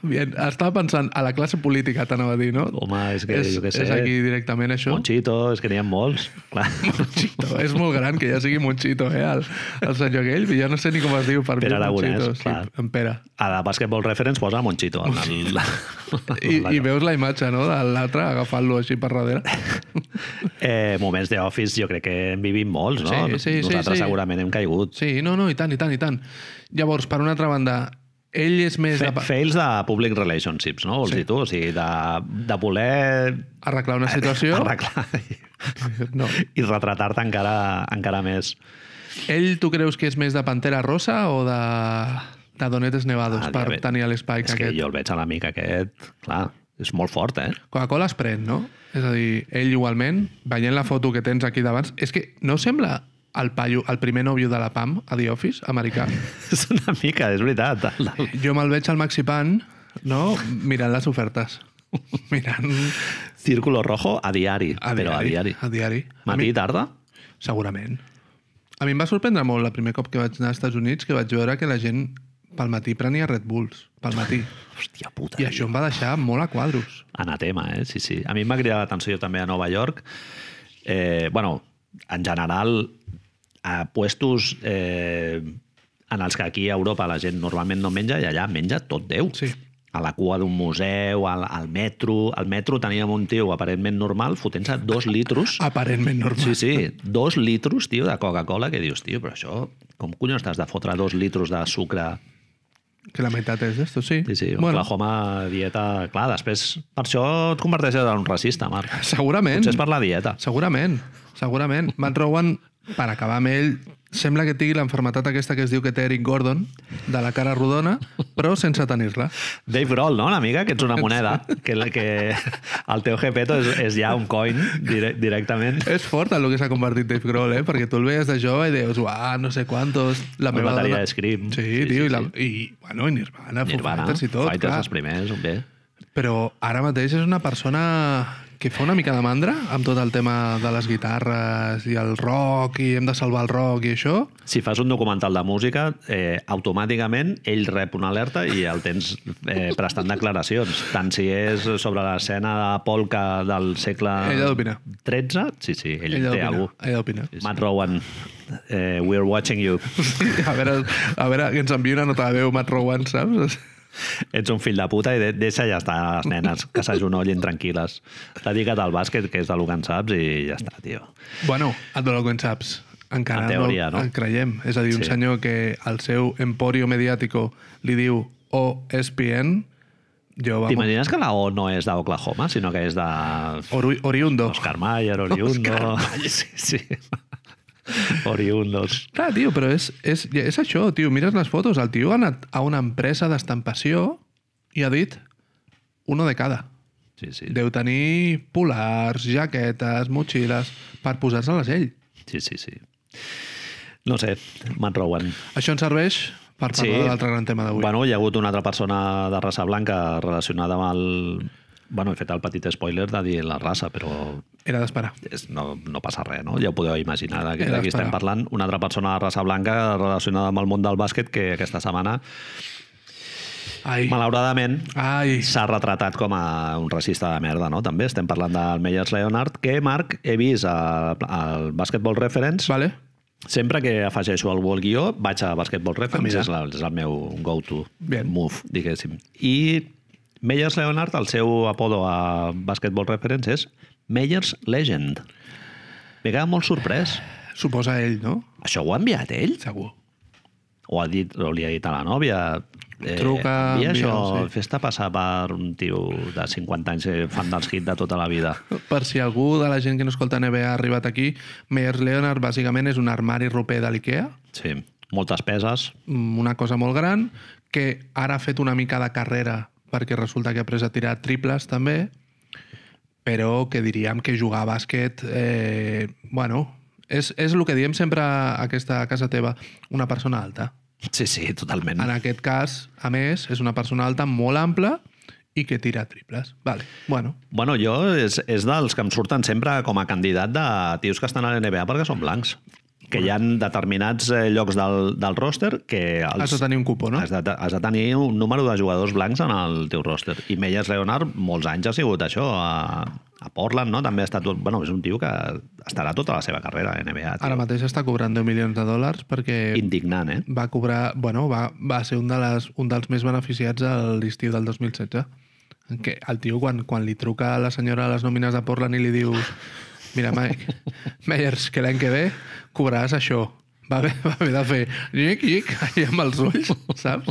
S2: Bien, estava pensant a la classe política, t'anava a dir, no?
S1: Home, és que jo què sé.
S2: És aquí directament, això.
S1: Monchito, és que n'hi ha molts. Clar.
S2: Monchito. És molt gran que ja sigui Monchito, eh, el, el senyor aquell. Jo no sé ni com es diu per
S1: Pere
S2: mi,
S1: Aragonès,
S2: Monchito.
S1: clar.
S2: Sí, en Pere.
S1: A la Basketball Reference posa Monchito. En el, la,
S2: I,
S1: la-
S2: I veus la imatge, no?, de l'altre agafant-lo així per darrere.
S1: Eh, moments d'Office jo crec que en vivim molts, no?
S2: Sí, sí, sí,
S1: Nosaltres
S2: sí.
S1: segurament hem caigut.
S2: Sí, no, no, i tant, i tant, i tant. Llavors, per una altra banda, ell és més...
S1: Fe,
S2: de pa-
S1: fails de public relationships, no? Vols
S2: Sí.
S1: dir tu? O sigui, de, de voler
S2: Arreglar una situació...
S1: arreglar i,
S2: No.
S1: i retratar-te encara, encara més.
S2: Ell, tu creus que és més de Pantera Rosa o de, de Donetes Nevados
S1: Ah,
S2: per
S1: diabet-
S2: tenir l'Spike
S1: És que
S2: aquest?
S1: jo el veig a l'amic aquest, clar, és molt fort, eh?
S2: Coca-Cola es pren, no? És a dir, ell igualment, veient la foto que tens aquí d'abans, és que no sembla el paio, el primer nòvio de la PAM a The Office, americà.
S1: És una mica, és veritat. El, el,
S2: Jo me'l veig al Maxi Pan, no?, mirant les ofertes. Mirant
S1: Círculo rojo a diari,
S2: a diari.
S1: però a diari.
S2: A diari. A
S1: Matí
S2: mi,
S1: i tarda?
S2: segurament. A mi em va sorprendre molt el primer cop que vaig anar als Estats Units que vaig veure que la gent pel matí prenia Red Bulls, pel matí.
S1: Hòstia puta.
S2: I això em va deixar molt a quadros.
S1: Anatema, eh? Sí, sí. A mi em va cridar l'atenció també a Nova York. Eh, bueno, en general, a puestos eh, en els que aquí a Europa la gent normalment no menja i allà menja tot Déu.
S2: Sí.
S1: A la cua d'un museu, al, al metro... Al metro teníem un tio aparentment normal fotent-se dos litros...
S2: Aparentment Ah, normal.
S1: Sí, sí, dos litros, tio, de Coca-Cola, que dius, tio, però això... Com collons t'has de fotre dos litros de sucre
S2: Que la meitat és d'esto, sí.
S1: Sí, sí, bueno. Oklahoma, dieta... Clar, després... Per això et converteixes en un racista, Marc.
S2: Segurament.
S1: Potser és per la dieta.
S2: Segurament, segurament. Matt Rowan, per acabar amb ell, sembla que tingui l'enfermetat aquesta que es diu que té Eric Gordon, de la cara rodona, però sense tenir-la.
S1: Dave Grohl, no, una mica? Que ets una moneda. Que, la- que el teu jepeto és, és ja un coin dire directament.
S2: És fort el que s'ha convertit Dave Grohl, eh? Perquè tu el veies de jove i deies, uah, no sé quantos... La
S1: El
S2: meva
S1: bateria
S2: dona...
S1: de Scream.
S2: Sí,
S1: Sí,
S2: sí
S1: sí,
S2: tio, i, la...
S1: sí.
S2: i bueno, i Nirvana, Nirvana
S1: Nirvana,
S2: Fighters i tot,
S1: Fighters els
S2: clar.
S1: primers, bé.
S2: Però ara mateix és una persona que fa una mica de mandra amb tot el tema de les guitarres i el rock i hem de salvar el rock i això.
S1: Si fas un documental de música, eh, automàticament ell rep una alerta i el tens eh, prestant declaracions. Tant si és sobre l'escena de polca del segle
S2: Ell ha d'opinar.
S1: 13, sí, sí, ell,
S2: Ell ha
S1: té
S2: d'opinar.
S1: alguna
S2: Ell ha d'opinar.
S1: Matt Rowan, eh, we're watching you.
S2: A veure, a veure que ens enviï una nota de veu Matt Rowan, saps?
S1: Ets un fill de puta i de- deixa ja estar a les nenes, que s'ajonollin tranquil·les. Dedica't al bàsquet, que és del que en saps, i ja està, tio.
S2: Bueno, et dono que en saps. Encara
S1: En teoria, no?
S2: en creiem. És a dir, un
S1: Sí.
S2: senyor que al seu emporio mediàtico li diu OSPN, jo, vamos,
S1: T'imagines que la O no és d'Oklahoma, sinó que és de
S2: ori oriundo.
S1: Oscar Mayer, Oriundo... Sí, sí. Oriundos.
S2: Clar, tio, però és, és, és això, tio. Mires les fotos. El tio ha anat a una empresa d'estampació i ha dit uno de cada.
S1: Sí, sí.
S2: Deu tenir polars, jaquetes, motxilles, per posar-se-les ell.
S1: Sí, sí, sí. No sé, Matt Rowan.
S2: Això ens serveix per parlar
S1: Sí.
S2: de l'altre gran tema d'avui.
S1: Bueno, hi ha hagut una altra persona de raça blanca relacionada amb el... Bueno, he fet el petit spoiler de dir la raça, però
S2: Era d'esperar.
S1: és, no, no passa res, no? Ja ho podeu imaginar de,
S2: Era
S1: de qui estem
S2: esperar.
S1: parlant. Una altra persona de raça blanca relacionada amb el món del bàsquet que aquesta setmana,
S2: Ai,
S1: malauradament,
S2: ai.
S1: s'ha retratat com a un racista de merda, no? També estem parlant del Meyers Leonard, que, Marc, he vist al, al Basketball Reference.
S2: Vale.
S1: Sempre que afegeixo algú al guió, vaig a Basketball Reference,
S2: Ah, mira.
S1: és, la, és el meu go-to
S2: Bien.
S1: move, diguéssim. I Meyers Leonard, el seu apodo a Basketball Reference és Meyers Legend. M'he quedat molt sorprès.
S2: Suposa ell, no?
S1: Això ho ha enviat ell?
S2: Segur.
S1: o, ha dit, o li ha dit a la nòvia eh,
S2: Truca,
S1: envia
S2: envia,
S1: això,
S2: sí.
S1: fes-te passar per un tio de 50 anys eh, fan dels hits de tota la vida
S2: Per si algú de la gent que no escolta NBA ha arribat aquí, Myers Leonard bàsicament és un armari roper de l'IKEA,
S1: sí, moltes peses
S2: mm, una cosa molt gran, que ara ha fet una mica de carrera perquè resulta que ha après a tirar triples també, però que diríem que jugar a bàsquet, eh, bueno, és, és el que diem sempre a aquesta casa teva, una persona alta.
S1: sí, sí, totalment
S2: En aquest cas, a més, és una persona alta molt ampla i que tira triples. Vale. Bueno,
S1: Bueno, jo és, és dels que em surten sempre com a candidat de tios que estan a l'NBA perquè són blancs. Que hi ha determinats eh, llocs del, del roster que... Els,
S2: has de tenir un cupó, no?
S1: Has de, has de tenir un número de jugadors blancs en el teu roster. I Meyers Leonard molts anys ha sigut això. A, a Portland, no? També ha estat... Bueno, és un tio que estarà tota la seva carrera a NBA. Tio.
S2: Ara mateix està cobrant 10 milions de dòlars perquè
S1: Indignant, eh?
S2: va cobrar... Bueno, va, va ser un, de les, un dels més beneficiats a l'estiu del 2016. En què el tio, quan, quan li truca a la senyora a les nòmines de Portland i li dius mira, Mike, Meyers, que l'any que ve cobraràs això. Va haver, va haver de fer llic, llic, allà amb els ulls, saps?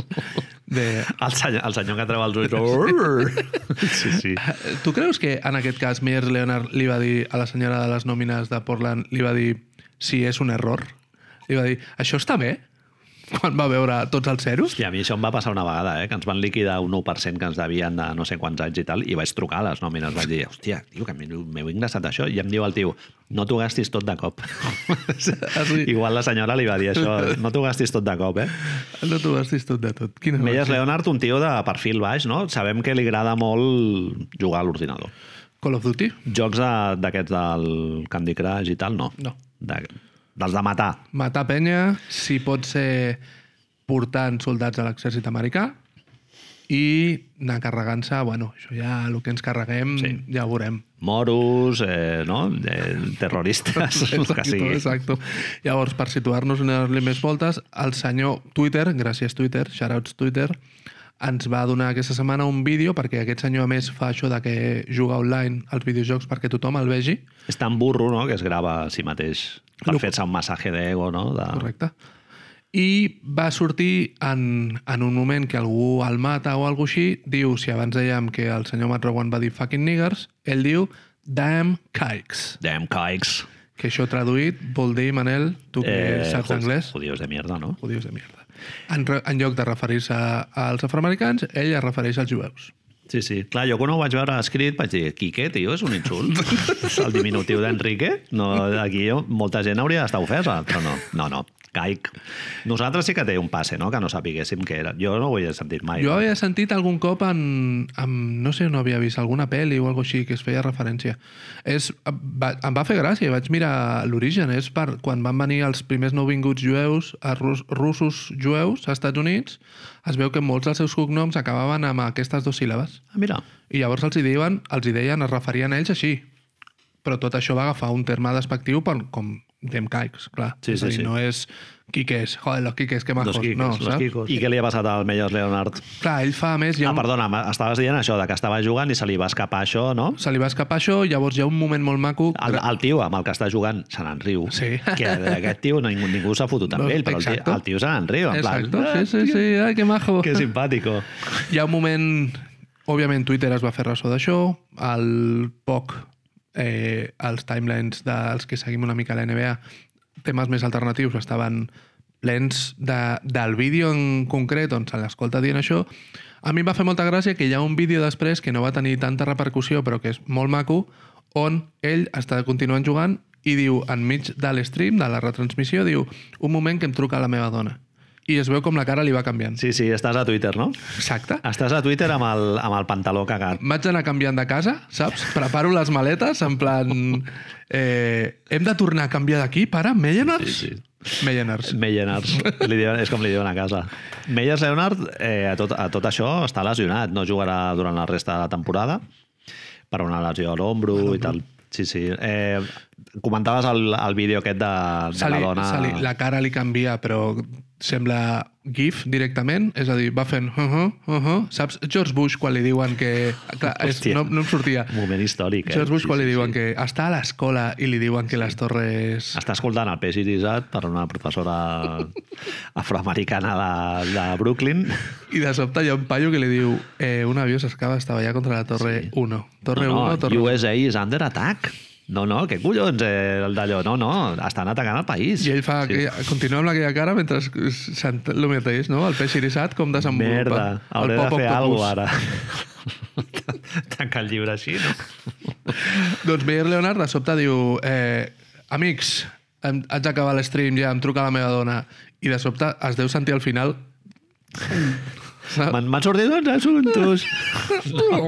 S2: De,
S1: El senyor, el senyor que treu els ulls... Sí, sí.
S2: Eh, Tu creus que en aquest cas Myers Leonard li va dir a la senyora de les nòmines de Portland, li va dir si és un error? Li va dir, això està bé? Quan va veure tots els zeros?
S1: I a mi això em va passar una vegada, eh? que ens van liquidar un 1% que ens devien de no sé quants anys i tal, i vaig trucar a les nòmines, vaig dir, hòstia, tio, que a mi m'heu ingressat això, i em diu el tio, no t'ho gastis tot de cop.
S2: Ah, sí.
S1: Igual la senyora li va dir això, no t'ho gastis tot de cop, eh?
S2: No t'ho has tot de tot. Quina
S1: Melles
S2: gràcia.
S1: Leonard, un tio de perfil baix, no? Sabem que li agrada molt jugar a l'ordinador.
S2: Call of Duty?
S1: Jocs de- d'aquests del Candy Crush i tal, no?
S2: No.
S1: De, dels de matar.
S2: Matar penya, si pot ser portant soldats a l'exèrcit americà i anar carregant-se, bueno, això ja, el que ens carreguem, sí. ja ho veurem.
S1: Moros, eh, no? Eh, terroristes, el que sigui.
S2: Exacte. Llavors, per situar-nos en les més voltes, el senyor Twitter, gràcies Twitter, shoutouts Twitter, ens va donar aquesta setmana un vídeo, perquè aquest senyor, a més, fa això de que juga online als videojocs perquè tothom el vegi,
S1: És tan burro, no?, que es grava a si mateix per
S2: Lo-
S1: fer-se un massatge d'ego, no? De...
S2: correcte. I va sortir en, en un moment que algú el mata o alguna així, diu, si abans dèiem que el senyor Matt Rowan va dir fucking niggers, ell diu damn kikes,
S1: Damn caics.
S2: que això traduït vol dir, Manel, tu que saps
S1: jud-
S2: anglès...
S1: Judíos Eh, de mierda, no?
S2: Judíos de mierda. En, re- en lloc de referir-se als afroamericans, ell es refereix als jueus.
S1: Sí, sí. Clar, jo quan ho vaig veure escrit vaig dir, Quique, tio, és un insult. El diminutiu d'Enrique. No, aquí jo- molta gent hauria d'estar ofesa, però no. No, no. Caic. Nosaltres sí que té un passe, no?, que no sapiguéssim què era. Jo no ho he sentit mai.
S2: Jo havia sentit algun cop en, en no sé on havia vist, alguna pel·li o alguna així que es feia referència. És, va, em va fer gràcia i vaig mirar l'origen. És per quan van venir els primers nouvinguts jueus, a rus, russos jueus, als Estats Units, es veu que molts dels seus cognoms acabaven amb aquestes dues síl·labes.
S1: Ah, mira.
S2: I llavors els hi deien, els hi deien, es referien a ells així. Però tot això va agafar un terme despectiu per, com demcaics, clar.
S1: Sí,
S2: és a
S1: sí,
S2: dir,
S1: sí.
S2: No és quiques, joder, los quiques, que majos.
S1: Los Quiques,
S2: no,
S1: los Quicos. I què li ha passat al Meyers Leonard?
S2: Clar, ell fa, a més, hi
S1: Ah,
S2: ha un...
S1: perdona, estaves dient això, de que estava jugant i se li va escapar això, no?
S2: se li va escapar això, llavors hi ha un moment molt maco...
S1: El, el tio amb el que està jugant se n'en riu.
S2: Sí.
S1: Que aquest tio ningú, ningú s'ha fotut amb
S2: No,
S1: ell, però el
S2: exacto.
S1: tio, el tio se n'en riu. En plan, "Ah, "Oh,
S2: Exacto, sí, sí, sí, ai, que majo.
S1: Que simpàtico.
S2: Hi ha un moment... Òbviament, Twitter es va fer ressò d'això. Al poc, eh, els timelines dels que seguim una mica la NBA, temes més alternatius estaven plens de, del vídeo en concret on se l'escolta dient això. A mi em va fer molta gràcia que hi ha un vídeo després que no va tenir tanta repercussió, però que és molt maco, on ell està continuant jugant i diu, enmig de l'estream, de la retransmissió, diu, un moment que em truca la meva dona. I es veu com la cara li va canviant.
S1: Sí, sí, estàs a Twitter, no?
S2: Exacte.
S1: Estàs a Twitter amb el, amb el pantaló cagat.
S2: M'haig d'anar canviant de casa, saps? Preparo les maletes, en plan... Eh, hem de tornar a canviar d'aquí, pare? Mellenars?
S1: Sí,
S2: Mellenars.
S1: Mellenars. Li diuen, és com li diuen a casa. Meyers Leonard, eh, a, tot, a tot això, està lesionat. No jugarà durant la resta de la temporada per una lesió a l'ombro i tal. Sí, sí. Eh, comentaves el, el vídeo aquest de, de
S2: Se li,
S1: la dona...
S2: se li, la cara li canvia, però sembla GIF directament, és a dir, va fent... Uh -huh, uh -huh. Saps George Bush quan li diuen que... Clar, és,
S1: Hòstia.
S2: no, no em sortia.
S1: Moment històric, eh?
S2: George Bush
S1: Sí,
S2: quan
S1: sí,
S2: li
S1: sí. Ah.
S2: diuen que està a l'escola i li diuen que les torres...
S1: Està escoltant el peix irisat per una professora afroamericana de, de Brooklyn.
S2: I de sobte hi ha un paio que li diu eh, un avió s'escava a estavellar contra la torre
S1: Sí.
S2: 1. Torre
S1: no,
S2: 1,
S1: no,
S2: torre
S1: USA is under attack. No, no, què collons, eh, el d'allò? No, no, estan atacant el país.
S2: I ell fa sí. aquella, continua amb aquella cara mentre sent el mateix, no? El peix irissat com desenvolupa.
S1: Merda, hauré
S2: el
S1: de
S2: pop
S1: fer
S2: octopus.
S1: alguna cosa ara. Tancar el llibre així, no?
S2: Doncs Meyer Leonard de sobte diu eh, amics, hem, haig d'acabar l'estream ja, em truca la meva dona. I de sobte es deu sentir al final...
S1: M'han m'han sortit uns assumptos.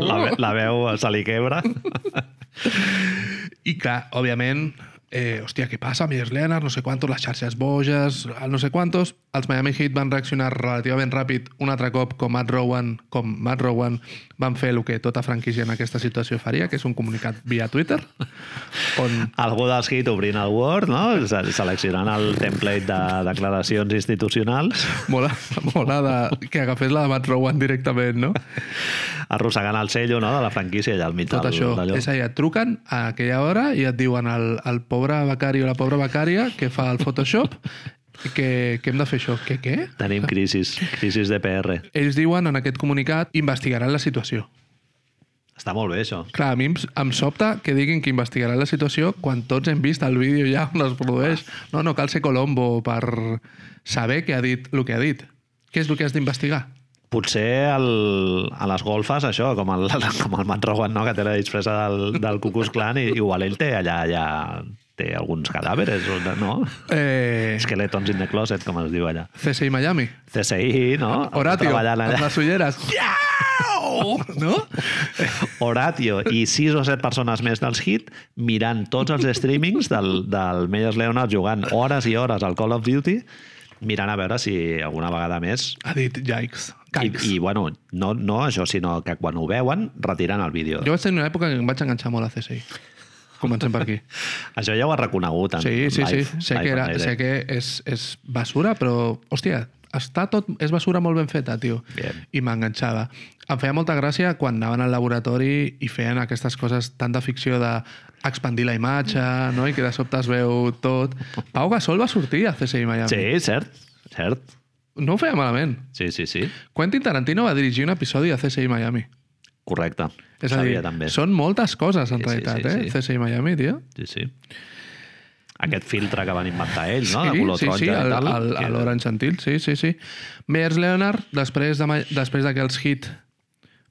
S1: La, ve- la veu se li quebra.
S2: I clar, òbviament, eh, hòstia, què passa? Meyer Leonard, no sé quantos, les xarxes boges, el no sé quantos. Els Miami Heat van reaccionar relativament ràpid un altre cop com Matt Rowan, com Matt Rowan van fer el que tota franquícia en aquesta situació faria, que és un comunicat via Twitter, on
S1: Algú dels hit obrint el Word, no? Se- Seleccionant el template de declaracions institucionals,
S2: mola, mola de, que agafés la de Matt Rowan directament, no?
S1: arrossegant el sello no? de la franquícia allà al mig
S2: Tot
S1: del-
S2: això.
S1: d'allò.
S2: És a dir, et truquen a aquella hora i et diuen el, el pobre becari o la pobra becària que fa el Photoshop que, que hem de fer això. Que què?
S1: Tenim crisis, crisis de PR.
S2: Ells diuen en aquest comunicat investigaran la situació.
S1: Està molt bé, això.
S2: Clar, a mi em, em sobta que diguin que investigaran la situació quan tots hem vist el vídeo ja on es produeix. No, no cal ser Colombo per saber què ha dit el que ha dit. Què és el que has d'investigar?
S1: Potser el, a les golfes, això, com el, com el Matt Rowan, no? que té la disfressa del, del Ku Klux Klan, i igual ell té allà, allà té alguns cadàveres, o- no?
S2: Eh,
S1: Esqueletons in the closet, com es diu allà.
S2: CSI Miami.
S1: CSI, no?
S2: Horatio,
S1: Treballant
S2: amb
S1: allà.
S2: les ulleres. No?
S1: Horatio i sis o set persones més dels hit mirant tots els streamings del, del Meyers Leonard jugant hores i hores al Call of Duty mirant a veure si alguna vegada més
S2: Ha dit yikes.
S1: i,
S2: Caics.
S1: i bueno, no, no això, sinó que quan ho veuen, retiren el vídeo.
S2: Jo vaig tenir una època que em vaig enganxar molt a CSI. Comencem per aquí.
S1: Això ja ho has reconegut. En
S2: Sí, sí, sí.
S1: live,
S2: Sé
S1: live
S2: que, era,
S1: on air,
S2: sé
S1: eh?
S2: que és, és basura, però, hòstia, està tot... És basura molt ben feta, tio.
S1: Bien.
S2: I m'enganxava. Em feia molta gràcia quan anaven al laboratori i feien aquestes coses tant de ficció de expandir la imatge, no? I que de sobte es veu tot. Pau Gasol va sortir a CSI Miami.
S1: Sí, cert, cert.
S2: No ho feia malament.
S1: Sí, sí, sí.
S2: Quentin Tarantino va dirigir un episodi a CSI Miami.
S1: Correcte.
S2: És a
S1: Sabia
S2: dir,
S1: també.
S2: són moltes coses, en
S1: Sí, sí,
S2: realitat,
S1: sí,
S2: eh?
S1: sí.
S2: CSI Miami, tio.
S1: Sí, sí. Aquest filtre que van inventar ells, no? de color
S2: sí,
S1: taronja
S2: sí,
S1: i
S2: el,
S1: tal.
S2: el,
S1: que-
S2: a l'Orange Gentil, sí, sí, sí. Meyers Leonard, després de, ma- després de que els hit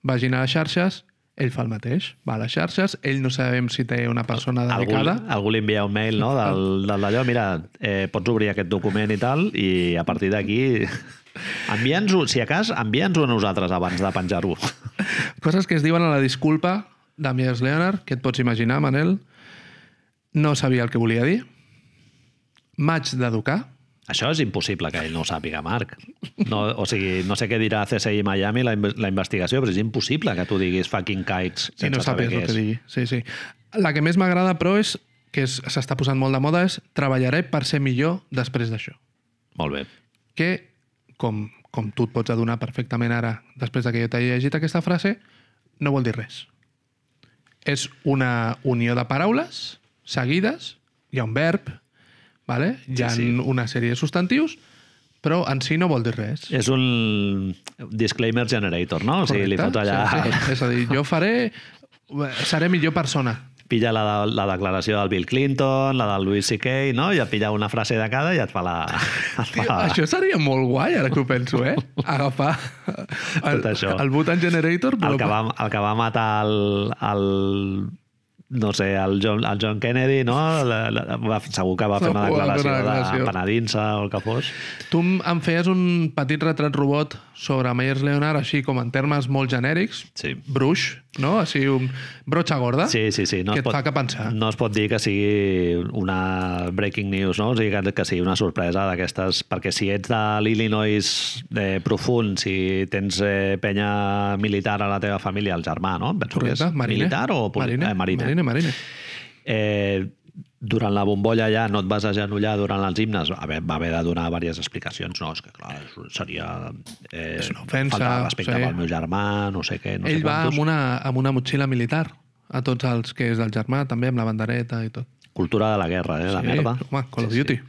S2: vagin a les xarxes, ell fa el mateix, va a les xarxes, ell no sabem si té una persona
S1: algú,
S2: dedicada.
S1: algú li envia un mail no? del, del d'allò, mira, eh, pots obrir aquest document i tal, i a partir d'aquí envia'ns-ho, si a cas, envia'ns-ho a nosaltres abans de penjar-ho.
S2: Coses que es diuen a la disculpa de Meyers Leonard, que et pots imaginar, Manel. No sabia el que volia dir. Maig d'educar.
S1: Això és impossible que ell no ho sàpiga, Marc. No, o sigui, no sé què dirà CSI Miami la, inve- la investigació, però és impossible que tu diguis fucking kites
S2: I
S1: sense
S2: no
S1: saber
S2: sàpigues
S1: què
S2: el que
S1: és.
S2: digui. Sí, sí. La que més m'agrada, però, és que és- s'està posant molt de moda, és treballaré per ser millor després d'això.
S1: Molt bé.
S2: que, com, com tu et pots adonar perfectament ara, després de que jo t'hagi llegit aquesta frase, no vol dir res. És una unió de paraules seguides, hi ha un verb, vale? hi ha
S1: Sí, sí.
S2: una sèrie de substantius, però en si no vol dir res.
S1: És un disclaimer generator, no? O sigui, li fots allà...
S2: Sí, sí. És a dir, jo faré... Seré millor persona.
S1: Pilla la, de- la declaració del Bill Clinton, la del Louis C.K., no? I et pilla una frase de cada i et fa la... Et
S2: Tio,
S1: fa la...
S2: Això seria molt guai, ara que ho penso, eh? Agafar el,
S1: Tot això.
S2: el Butan Generator, però
S1: El que va, el que va matar el, el no sé, el John, el John Kennedy, no? La, la, va, segur que va fer una
S2: Segur que va
S1: declaració,
S2: fer una
S1: de
S2: declaració.
S1: penedinça o el que fos.
S2: Tu em- em feies un petit retrat robot sobre Myers Leonard, així com en termes molt genèrics,
S1: Sí.
S2: bruix, no? Així, un brotxa gorda,
S1: Sí, sí, sí. No
S2: que
S1: es
S2: et fa que pensar.
S1: No es pot dir que sigui una breaking news, no? O sigui, que, que sigui una sorpresa d'aquestes, perquè si ets de l'Illinois eh, profund, si tens eh, penya militar a la teva família, el germà, no? Penso que és
S2: Correcte, mariner.
S1: militar o... poli-
S2: mariner,
S1: Eh, mariner.
S2: mariner, mariner.
S1: Eh, durant la bombolla ja no et vas agenollar durant els himnes, a veure, va haver de donar diverses explicacions, no, és que clar, és- seria... Eh,
S2: És una ofensa,
S1: Faltar de respecte
S2: sí.
S1: pel meu germà, no sé què, no
S2: Ell
S1: sé
S2: va
S1: quantos.
S2: amb una, amb una motxilla militar a tots els que és del germà, també, amb la bandereta i tot.
S1: Cultura de la guerra, eh, la
S2: Sí,
S1: merda.
S2: Home, Call of Duty.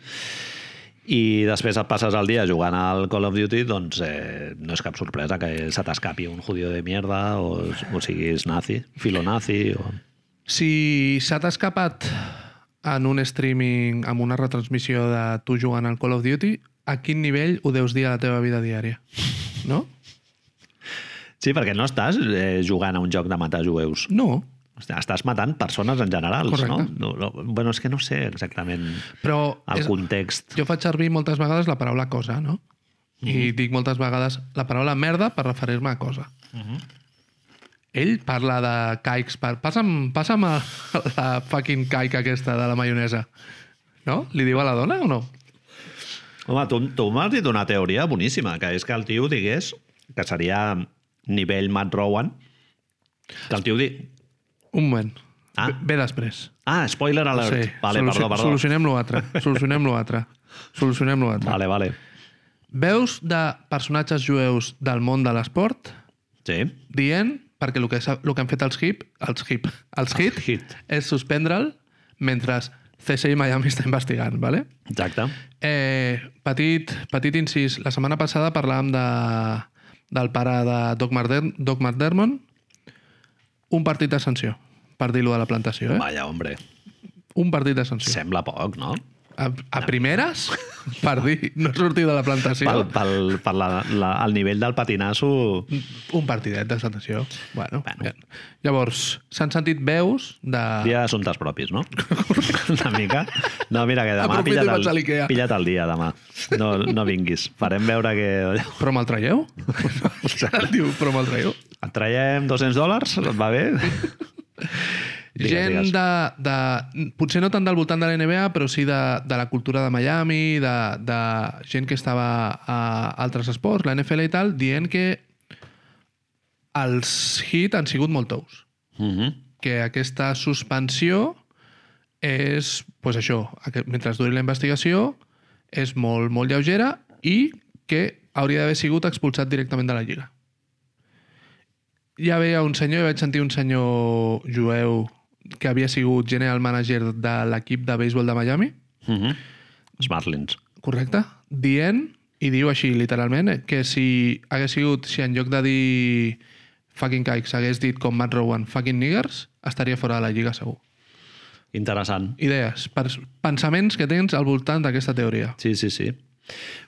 S1: I després et passes el dia jugant al Call of Duty, doncs eh, no és cap sorpresa que se t'escapi un judío de mierda o, o siguis nazi, filonazi o...
S2: Si s'ha t'escapat en un streaming, amb una retransmissió de tu jugant al Call of Duty, a quin nivell ho deus dir a la teva vida diària? No?
S1: Sí, perquè no estàs eh, jugant a un joc de matar jueus.
S2: No.
S1: Estàs matant persones en general, no?
S2: Correcte.
S1: no? no? Bueno, és que no sé exactament
S2: Però
S1: el
S2: és-
S1: context.
S2: jo faig servir moltes vegades la paraula cosa, no?
S1: Mhm.
S2: I dic moltes vegades la paraula merda per referir-me a cosa.
S1: Mhm.
S2: Ell parla de caics... Per... Passa'm, passa'm a, la fucking caic aquesta de la maionesa. No? Li diu a la dona o no?
S1: Home, tu, tu m'has dit una teoria boníssima, que és que el tio digués que seria nivell Matt Rowan, que el tio di...
S2: Un moment.
S1: Ah.
S2: Ve- Ve després.
S1: Ah, spoiler alert.
S2: Sí,
S1: vale,
S2: soluci-
S1: perdó, perdó.
S2: Solucionem l'altre. Solucionem l'altre. Solucionem l'altre.
S1: Vale, vale.
S2: Veus de personatges jueus del món de l'esport
S1: Sí.
S2: dient, perquè el que, s'ha- el que han fet els hip, els hip, els hit,
S1: hit.
S2: és suspendre'l mentre CSI Miami està investigant, ¿vale?
S1: Exacte.
S2: Eh, petit, petit incís. La setmana passada parlàvem de, del pare de Doc, Marder, Doc McDermott. Un partit de sanció, per dir-ho de la plantació. Eh?
S1: Vaja, hombre.
S2: Un partit de sanció.
S1: Sembla poc, no?
S2: A, a primeres, per dir, no sortir de la plantació,
S1: Pel, pel, per la, la, el nivell del patinasso...
S2: un partidet de sanció. Bueno,
S1: Bueno.
S2: bueno. Llavors, s'han sentit veus de...
S1: Dia d'assumptes propis, no? Una mica. No, mira, que demà
S2: Aprofito i
S1: pilla't
S2: vaig a
S1: el,
S2: l'Ikea.
S1: pilla't el dia, demà. No, no vinguis. Farem veure que...
S2: Però me'l traieu? Exacte. Diu, però me'l traieu?
S1: Et traiem 200 dòlars? Et va bé? Digues,
S2: Gent
S1: digues.
S2: De, de... Potser no tant del voltant de la NBA, però sí de, de la cultura de Miami, de, de gent que estava a altres esports, la NFL i tal, dient que els hit han sigut molt tous.
S1: Mhm.
S2: que aquesta suspensió és, doncs això, aquest- mentre duri la investigació, és molt, molt lleugera i que hauria d'haver sigut expulsat directament de la Lliga. Ja veia un senyor, i vaig sentir un senyor jueu que havia sigut general manager de l'equip de béisbol de Miami,
S1: Mhm. Els Marlins.
S2: correcte, dient, i diu així literalment, eh, que si hagués sigut, si en lloc de dir fucking caics hagués dit com Matt Rowan fucking niggers, estaria fora de la Lliga segur
S1: Interessant.
S2: idees, pers- pensaments que tens al voltant d'aquesta teoria.
S1: Sí, sí, sí.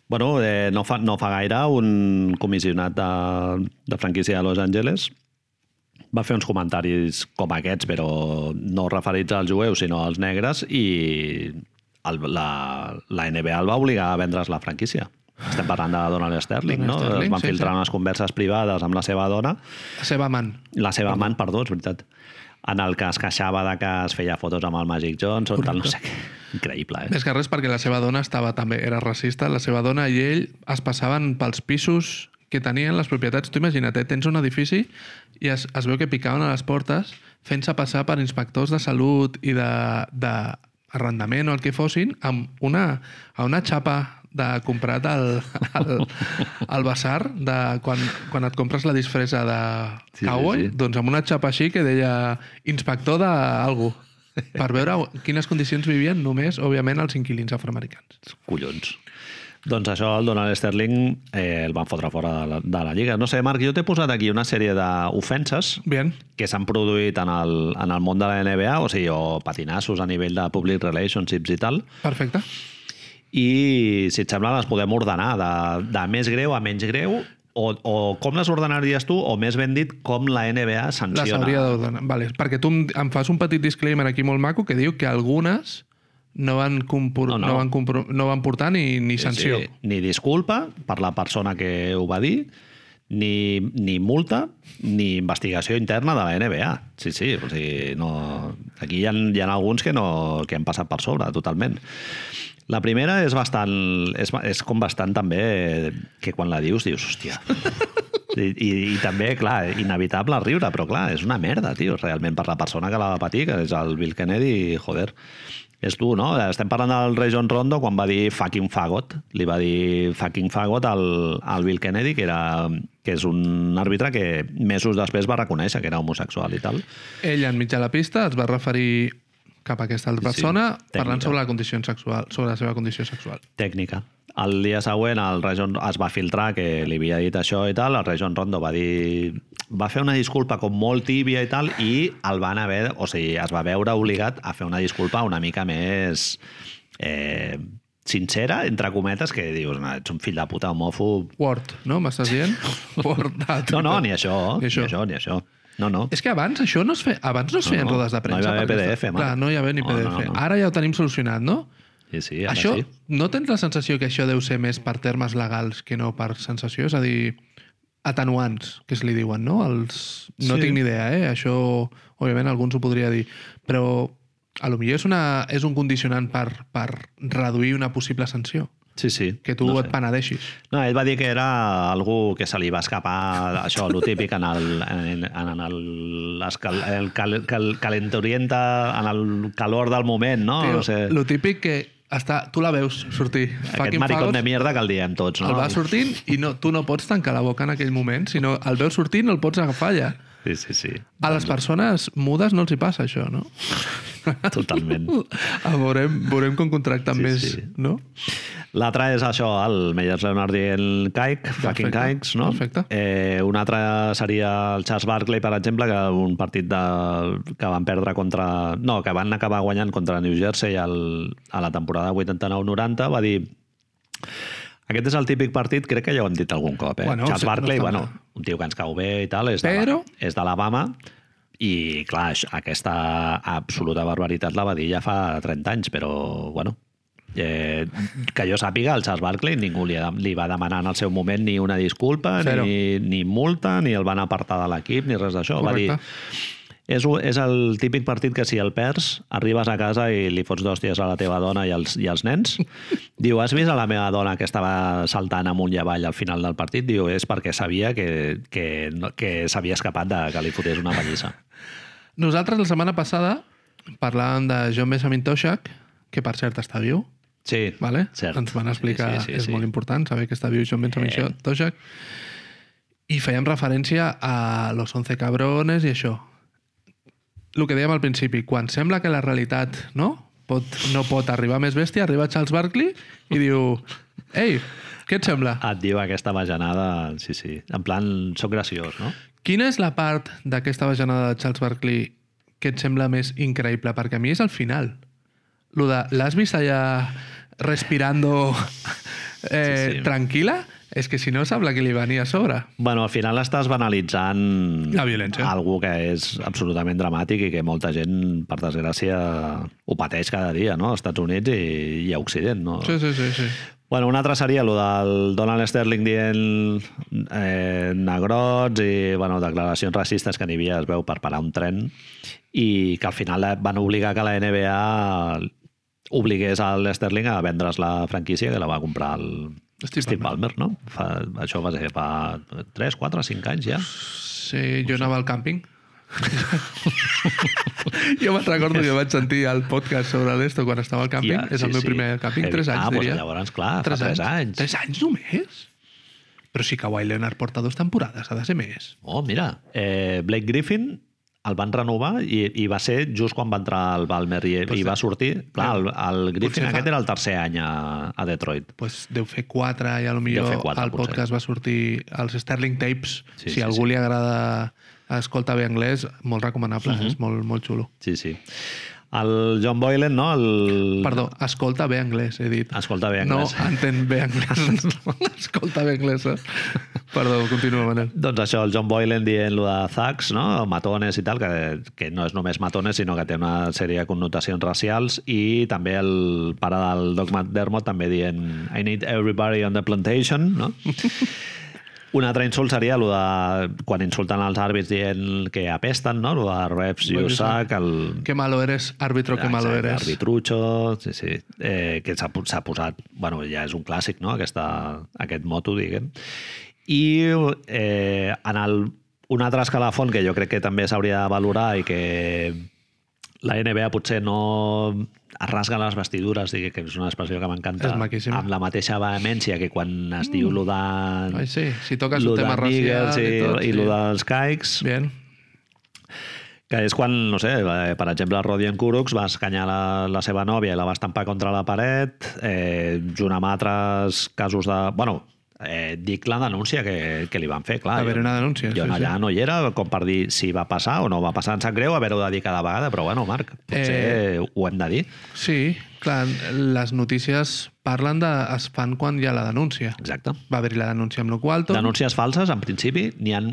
S1: Bueno, eh, no, fa, no fa gaire un comissionat de, de franquícia de Los Angeles va fer uns comentaris com aquests, però no referits als jueus, sinó als negres, i el, la, la NBA el va obligar a vendre's la franquícia. Estem parlant de Donald Sterling,
S2: Donald
S1: no?
S2: Sterling,
S1: es van
S2: sí,
S1: filtrar
S2: sí.
S1: unes converses privades amb la seva dona,
S2: La seva amant.
S1: la seva amant, perdó, és veritat, en el que es queixava de que es feia fotos amb el Magic Johnson, tal, no sé què. Increïble, eh?
S2: Més que res perquè la seva dona estava també era racista, la seva dona i ell es passaven pels pisos que tenien les propietats. Tu imagina't, eh? tens un edifici i es, es veu que picaven a les portes fent-se passar per inspectors de salut i de, de arrendament o el que fossin amb una, a una xapa de comprat al, al, al bazar de quan, quan et compres la disfressa de
S1: Sí, sí,
S2: cowboy,
S1: sí.
S2: doncs amb una xapa així que deia inspector d'algú per veure quines condicions vivien només, òbviament, els inquilins afroamericans.
S1: collons. Doncs això, el Donald Sterling eh, el van fotre fora de la, de la Lliga. No sé, Marc, jo t'he posat aquí una sèrie d'ofenses
S2: Bien.
S1: que s'han produït en el, en el món de la NBA, o sigui, o patinassos a nivell de public relationships i tal,
S2: Perfecte.
S1: i si et sembla les podem ordenar de, de més greu a menys greu, o, o com les ordenaries tu, o més ben dit, com la NBA
S2: Les
S1: sanciona.
S2: hauria d'ordenar. Vale. Perquè tu em, em fas un petit disclaimer aquí molt maco que diu que algunes no van, compor...
S1: No,
S2: no,
S1: no.
S2: no. van, compro... no van portar ni, ni sanció.
S1: Sí, Eh, ni disculpa per la persona que ho va dir, ni, ni multa, ni investigació interna de la NBA. Sí, sí, o sigui, no... aquí hi ha, hi ha alguns que, no, que han passat per sobre, totalment. La primera és bastant... És, ba- és com bastant també que quan la dius, dius, hòstia... I, i, I també, clar, inevitable riure, però clar, és una merda, tio, realment, per la persona que la va patir, que és el Bill Kennedy, joder. és tu, no? Estem parlant del rei John Rondo quan va dir fucking fagot. Li va dir fucking fagot al, al Bill Kennedy, que, era, que és un àrbitre que mesos després va reconèixer que era homosexual i tal.
S2: Ell, enmig de la pista, es va referir cap a aquesta altra
S1: Sí, sí,
S2: persona parlant
S1: tècnica.
S2: sobre la condició sexual, sobre la seva condició sexual.
S1: Tècnica. El dia següent el rei John es va filtrar que li havia dit això i tal, el rei John Rondo va dir... Va fer una disculpa com molt tíbia i tal i el van haver... O sigui, es va veure obligat a fer una disculpa una mica més... Eh, sincera, entre cometes, que dius, "No, ets un fill de puta homòfob.
S2: Word, no? M'estàs dient? Word. a
S1: No, no,
S2: Twitter.
S1: ni això,
S2: Ni
S1: ni això,
S2: això.
S1: ni això. Ni això. No, no.
S2: És que abans això no es feia, abans no es
S1: No,
S2: feien
S1: no.
S2: rodes de
S1: No hi va
S2: premsa.
S1: haver
S2: perquè-
S1: PDF, Marc.
S2: Clar, no hi havia ni
S1: No, no,
S2: PDF.
S1: no.
S2: Ara ja ho tenim solucionat, no?
S1: Sí, sí, ara
S2: Això,
S1: sí.
S2: no tens la sensació que això deu ser més per termes legals que no per sensació? És a dir, atenuants, que es li diuen, no? Els... No
S1: Sí.
S2: tinc ni idea, eh? Això, òbviament, alguns ho podria dir. Però a lo millor és, una, és un condicionant per, per reduir una possible sanció.
S1: Sí, sí.
S2: Que tu
S1: no
S2: et penedeixis.
S1: No, ell va dir que era algú que se li va escapar, això, lo típic, en el, en, en, en el, escal, el cal, cal, calenturienta, en el calor del moment, no?
S2: Tio,
S1: no sé,
S2: Lo típic que està, tu la veus sortir.
S1: aquest
S2: fucking
S1: maricón
S2: fagos,
S1: de mierda que el diem tots, no?
S2: El va sortint i no, tu no pots tancar la boca en aquell moment, sinó el veus sortint no el pots agafar ja.
S1: Sí, sí, sí,
S2: A les persones mudes no els hi passa això, no?
S1: totalment.
S2: A veurem, veurem com contracten
S1: Sí,
S2: sí, més, sí.
S1: sí.
S2: no?
S1: L'altre és això, el Meyers Leonard dient caic, fucking
S2: Perfecte,
S1: caics, no?
S2: perfecte.
S1: Eh, un altre seria el Charles Barkley, per exemple, que un partit de, que van perdre contra... No, que van acabar guanyant contra New Jersey al, a la temporada 89-90, va dir... Aquest és el típic partit, crec que ja ho hem dit algun cop, eh?
S2: Bueno,
S1: Bueno, Charles
S2: sí, no
S1: Barkley,
S2: està
S1: bueno,
S2: mal.
S1: un tio que ens cau bé i tal, és
S2: Però-
S1: de, és d'Alabama, i clar, això- aquesta absoluta barbaritat la va dir ja fa 30 anys, però bueno, eh, que jo sàpiga, el Charles Barkley ningú li, li va demanar en el seu moment ni una disculpa,
S2: Zero.
S1: ni, ni multa, ni el van apartar de l'equip, ni res d'això. Va dir,
S2: Correcte.
S1: és, un- és el típic partit que si el perds, arribes a casa i li fots d'hòsties a la teva dona i als, i als nens. Diu, has vist a la meva dona que estava saltant amunt i avall al final del partit? Diu, és perquè sabia que, que, no- que s'havia escapat de que li fotés una pallissa.
S2: Nosaltres la setmana passada parlàvem de John Benjamin Toshak, que per cert està viu,
S1: Sí,
S2: vale?
S1: cert.
S2: ens van explicar, sí, sí, sí, és molt important saber que està viu John Benjamin
S1: Eh.
S2: eh. Toshak, i fèiem referència a Los 11 Cabrones i això. El que dèiem al principi, quan sembla que la realitat no pot, no pot arribar més bèstia, arriba Charles Barkley i diu «Ei, què et sembla?
S1: Et diu aquesta bajanada, sí, sí. En plan, sóc graciós, no?
S2: Quina és la part d'aquesta bajanada de Charles Barkley que et sembla més increïble? Perquè a mi és el final. Lo de l'has vist allà respirando eh,
S1: Sí, sí.
S2: tranquil·la? És que si no sembla que li venia a sobre.
S1: Bueno, al final estàs banalitzant
S2: La violència.
S1: algú que és absolutament dramàtic i que molta gent, per desgràcia, ho pateix cada dia, no? Als Estats Units i, i a Occident, no?
S2: Sí, sí, sí. sí.
S1: Bueno, un altre seria el del Donald Sterling dient eh, negrots i bueno, declaracions racistes que n'hi havia, es veu, per parar un tren i que al final van obligar que la NBA obligués al Sterling a vendre's la franquícia que la va comprar el
S2: Steve
S1: Steve, Palmer, no? Fa, això va ser fa 3, 4, 5 anys ja.
S2: Sí, jo anava al càmping. jo me'n recordo que vaig sentir el podcast sobre l'Esto quan estava al càmping.
S1: Ja,
S2: és el
S1: sí,
S2: meu
S1: sí.
S2: primer càmping,
S1: Heavy.
S2: 3 anys,
S1: Ah, doncs
S2: diria.
S1: llavors, clar, fa
S2: Tres
S1: tres anys.
S2: Tres anys només? Però si Kawhi Leonard porta dues temporades, ha de ser més.
S1: Oh, mira, eh, Blake Griffin el van renovar i, i va ser just quan va entrar el Balmer i, i va sortir... Clar, el, el
S2: Potser
S1: Griffin
S2: fa-
S1: aquest era el tercer any a, a Detroit.
S2: pues deu fer quatre i a lo millor
S1: fer quatre,
S2: el
S1: potser.
S2: podcast va sortir als Sterling Tapes.
S1: Sí,
S2: Sí, si
S1: sí,
S2: a algú li agrada escoltar bé anglès, molt recomanable,
S1: Mhm.
S2: és molt, molt xulo.
S1: Sí, sí. El John Boylan, no? El...
S2: Perdó, escolta bé anglès, he dit.
S1: Escolta bé anglès.
S2: No, entén bé anglès. escolta bé anglès. eh? Perdó, continua, Manel.
S1: Doncs això, el John Boylan dient lo de Zags, no? matones i tal, que, que no és només matones, sinó que té una sèrie de connotacions racials, i també el pare del Doc McDermott també dient I need everybody on the plantation, no? Un altre insult seria lo de quan insulten els àrbits dient que apesten, no? Lo de refs i
S2: Bueno, sí.
S1: sac, el,
S2: Que malo eres, àrbitro, que malo
S1: Exacte,
S2: eres.
S1: Arbitrucho, sí, sí. Eh, que s'ha pu- s'ha posat... Bueno, ja és un clàssic, no?, Aquesta, aquest moto, diguem. I eh, en el, un altre escalafon que jo crec que també s'hauria de valorar i que la NBA potser no es rasga les vestidures, digue, que és una expressió que m'encanta,
S2: És maquíssima.
S1: amb la mateixa vehemència que quan es diu lo de...
S2: Ai, sí, si toques un
S1: lo
S2: tema
S1: de Nigel
S2: racial i, tot.
S1: i, i lo
S2: sí.
S1: dels caics,
S2: Bien.
S1: que és quan, no sé, eh, per exemple, Rodian Kurox va escanyar la, la seva nòvia i la va estampar contra la paret, eh, junt amb altres casos de... Bueno, eh, dic la denúncia que, que li van fer, clar.
S2: Va haver
S1: jo-
S2: una denúncia,
S1: Jo
S2: sí,
S1: sí, allà
S2: sí.
S1: no hi era, com per dir si va passar o no va passar. Em sap greu haver-ho de dir cada vegada, però bueno, Marc, potser eh... ho hem de dir.
S2: Sí, clar, les notícies parlen de... es fan quan hi ha la denúncia.
S1: Exacte.
S2: Va haver-hi la denúncia, amb la qual cosa tot
S1: Denúncies falses, en principi, n'hi han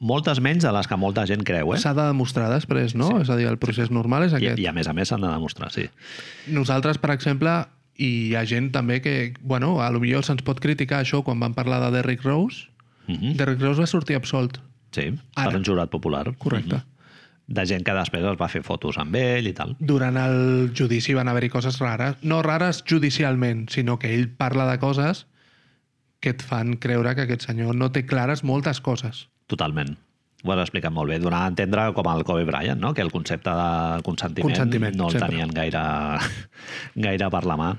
S1: moltes menys de les que molta gent creu, eh?
S2: s'ha de demostrar després, no? Sí. És a dir, el procés normal és
S1: I,
S2: aquest.
S1: I a més a més s'han de demostrar, sí.
S2: Nosaltres, per exemple, i hi ha gent també que, bueno, a lo millor se'ns pot criticar això quan vam parlar de Derrick Rose.
S1: Mm
S2: Mm. Derrick Rose va sortir absolt,
S1: Sí,
S2: Ara.
S1: per un jurat popular.
S2: correcte. Mm
S1: Mhm. de gent que després es va fer fotos amb ell i tal.
S2: Durant el judici van haver-hi coses rares. No rares judicialment, sinó que ell parla de coses que et fan creure que aquest senyor no té clares moltes coses.
S1: Totalment. Ho has explicat molt bé. Donar a entendre com el Kobe Bryant, no? que el concepte de consentiment,
S2: Consentiment,
S1: no el
S2: sempre.
S1: tenien gaire, gaire per la mà.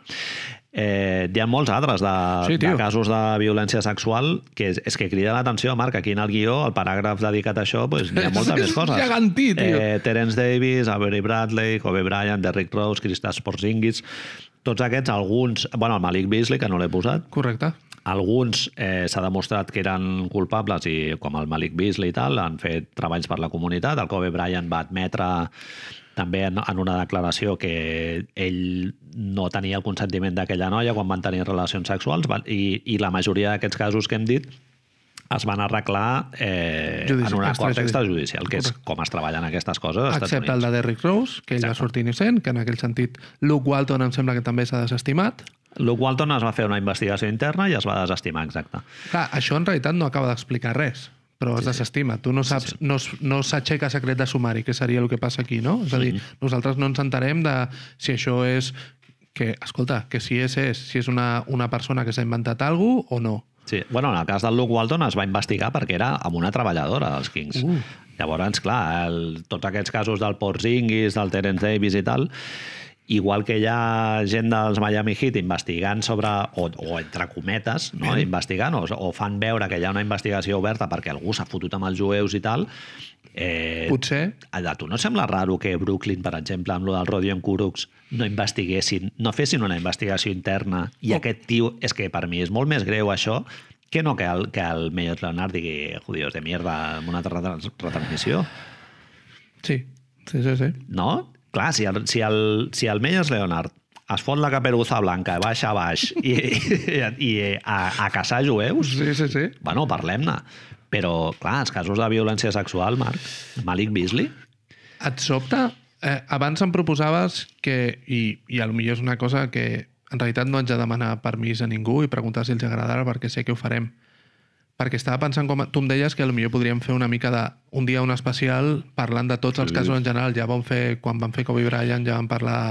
S1: Eh, hi ha molts altres de,
S2: Sí,
S1: de
S2: tio.
S1: casos de violència sexual que és, és que crida l'atenció, Marc, aquí en el guió, el paràgraf dedicat a això, doncs, hi ha
S2: És
S1: moltes
S2: que
S1: més
S2: és
S1: coses.
S2: gegantí, tio.
S1: Eh, Terence Davis, Avery Bradley, Kobe Bryant, Derrick Rose, Kristaps Porzingis, tots aquests, alguns... bueno, el Malik Beasley, que no l'he posat,
S2: Correcte?
S1: alguns eh, s'ha demostrat que eren culpables i com el Malik Beasley i tal, han fet treballs per la comunitat. El Kobe Bryant va admetre també en, en una declaració que ell no tenia el consentiment d'aquella noia quan van tenir relacions sexuals van, i, i la majoria d'aquests casos que hem dit es van arreglar eh,
S2: Judici-
S1: en un acord
S2: extrajudi-
S1: extrajudicial, que és
S2: Correcte.
S1: com es treballen aquestes coses als Estats
S2: Excepte el
S1: Units.
S2: de Derrick Rose, que ell va
S1: Exacte.
S2: sortir innocent, que en aquell sentit Luke Walton em sembla que també s'ha desestimat.
S1: Luke Walton doncs, es va fer una investigació interna i es va desestimar, exacte.
S2: Clar, això en realitat no acaba d'explicar res, però es desestima. Tu no saps, no s- no s'aixeca secret de sumari, que seria el que passa aquí, no? És a dir, nosaltres no ens entenem de si això és que, escolta, que si és, és, si és una, una persona que s'ha inventat alguna o no.
S1: Sí. Bueno, en el cas del Luke Walton es va investigar perquè era amb una treballadora dels Kings. Uh. Llavors, clar, el, tots aquests casos del Porzingis, del Terence Davis i tal, igual que hi ha gent dels Miami Heat investigant sobre, o, o entre cometes, no? investigant, o, o fan veure que hi ha una investigació oberta perquè algú s'ha fotut amb els jueus i tal, eh,
S2: Potser
S1: a tu no et sembla raro que Brooklyn, per exemple, amb lo del Rodion Kurox, no investiguessin, no fessin una investigació interna i
S2: Oh.
S1: aquest tio, és que per mi és molt més greu això que no que el, que el Mayor Leonard digui judíos de mierda en una retrans- retransmissió,
S2: Sí, sí, sí. sí.
S1: no? Clar, si el, si el, si el Mayor Leonard es fot la caperuza blanca baix a baix i, i, i a, a caçar jueus,
S2: Sí, sí, sí.
S1: bueno, parlem-ne. Però, clar, els casos de violència sexual, Marc, Malik Beasley,
S2: Et sobta? Eh, abans em proposaves que, i, i a lo millor és una cosa que en realitat no haig de demanar permís a ningú i preguntar si els agradarà perquè sé que ho farem. Perquè estava pensant com... Tu em deies que a lo millor podríem fer una mica de... Un dia un especial parlant de tots els casos en general. Ja vam fer... Quan vam fer Kobe Bryant ja vam parlar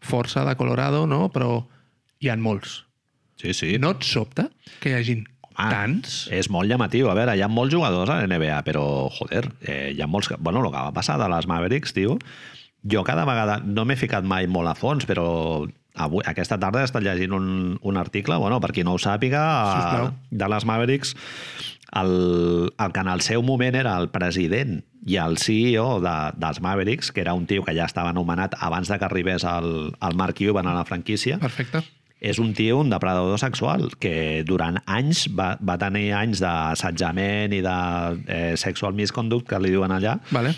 S2: força de Colorado, no? Però hi han molts.
S1: sí, sí,
S2: No et sobta que hi hagin
S1: Home,
S2: tants?
S1: És molt llamatiu. A veure, hi ha molts jugadors a l'NBA, però, joder, eh, hi ha molts... que- Bueno, el que va passar de les Mavericks, tio, jo cada vegada... No m'he ficat mai molt a fons, però avui, aquesta tarda he estat llegint un, un article, bueno, per qui no ho sàpiga,
S2: Sisplau.
S1: a, de les Mavericks, el, el que en el seu moment era el president i el CEO de, dels Mavericks, que era un tio que ja estava nomenat abans de que arribés el, el Mark Cuban a la franquícia,
S2: Perfecte.
S1: és un tio, un depredador sexual, que durant anys va, va tenir anys d'assetjament i de eh, sexual misconduct, que li diuen allà,
S2: Vale.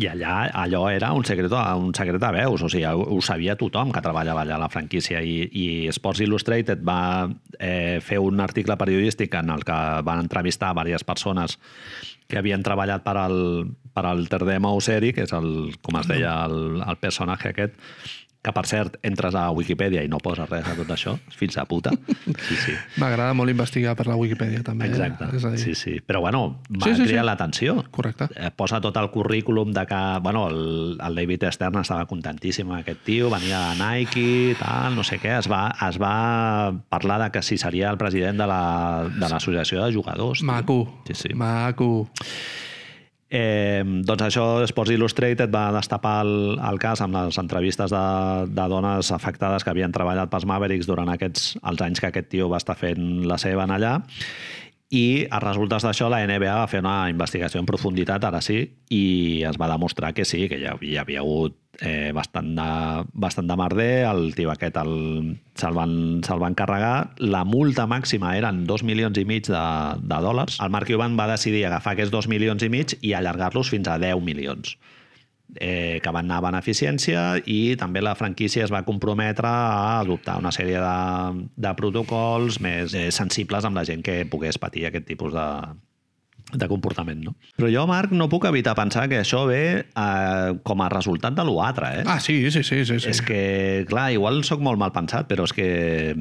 S1: i allà allò era un secret, un secret a veus, o sigui, ho ho sabia tothom que treballava allà a la franquícia i, i Sports Illustrated va eh, fer un article periodístic en el que van entrevistar diverses persones que havien treballat per al, per al Terdemau Seri, que és el, com es deia el, el personatge aquest, que per cert entres a Wikipedia i no posa res de tot això, fills de puta. Sí, sí.
S2: M'agrada molt investigar per la Wikipedia, també.
S1: Exacte,
S2: És a dir,
S1: sí, sí. Però bueno, va sí,
S2: Sí, sí,
S1: sí,
S2: sí.
S1: cridar l'atenció.
S2: Correcte.
S1: Eh, Posa tot el currículum de que... Bueno, el, el David Stern estava contentíssim amb aquest tio, venia de Nike, tal, no sé què. Es va, es va parlar de que si seria el president de la- de l'associació la, de, de jugadors. tio.
S2: Maco.
S1: Sí, sí.
S2: Maco.
S1: Eh, doncs això, Sports Illustrated va destapar el, el cas amb les entrevistes de, de dones afectades que havien treballat pels Mavericks durant aquests, els anys que aquest tio va estar fent la seva en allà i a resultes d'això la NBA va fer una investigació en profunditat, ara sí, i es va demostrar que sí, que hi havia, hi havia hagut eh, bastant, de, bastant de merder, el tio aquest el, se'l van, se van carregar, la multa màxima eren 2 milions i mig de, de dòlars, el Mark Cuban va decidir agafar aquests 2 milions i mig i allargar-los fins a 10 milions eh, que van anar a beneficència i també la franquícia es va comprometre a adoptar una sèrie de, de protocols més eh, sensibles amb la gent que pogués patir aquest tipus de, de comportament. No? Però jo, Marc, no puc evitar pensar que això ve eh, com a resultat de l'altre. Eh?
S2: Ah, sí, sí, sí. sí, sí.
S1: És que, clar, igual sóc molt mal pensat, però és que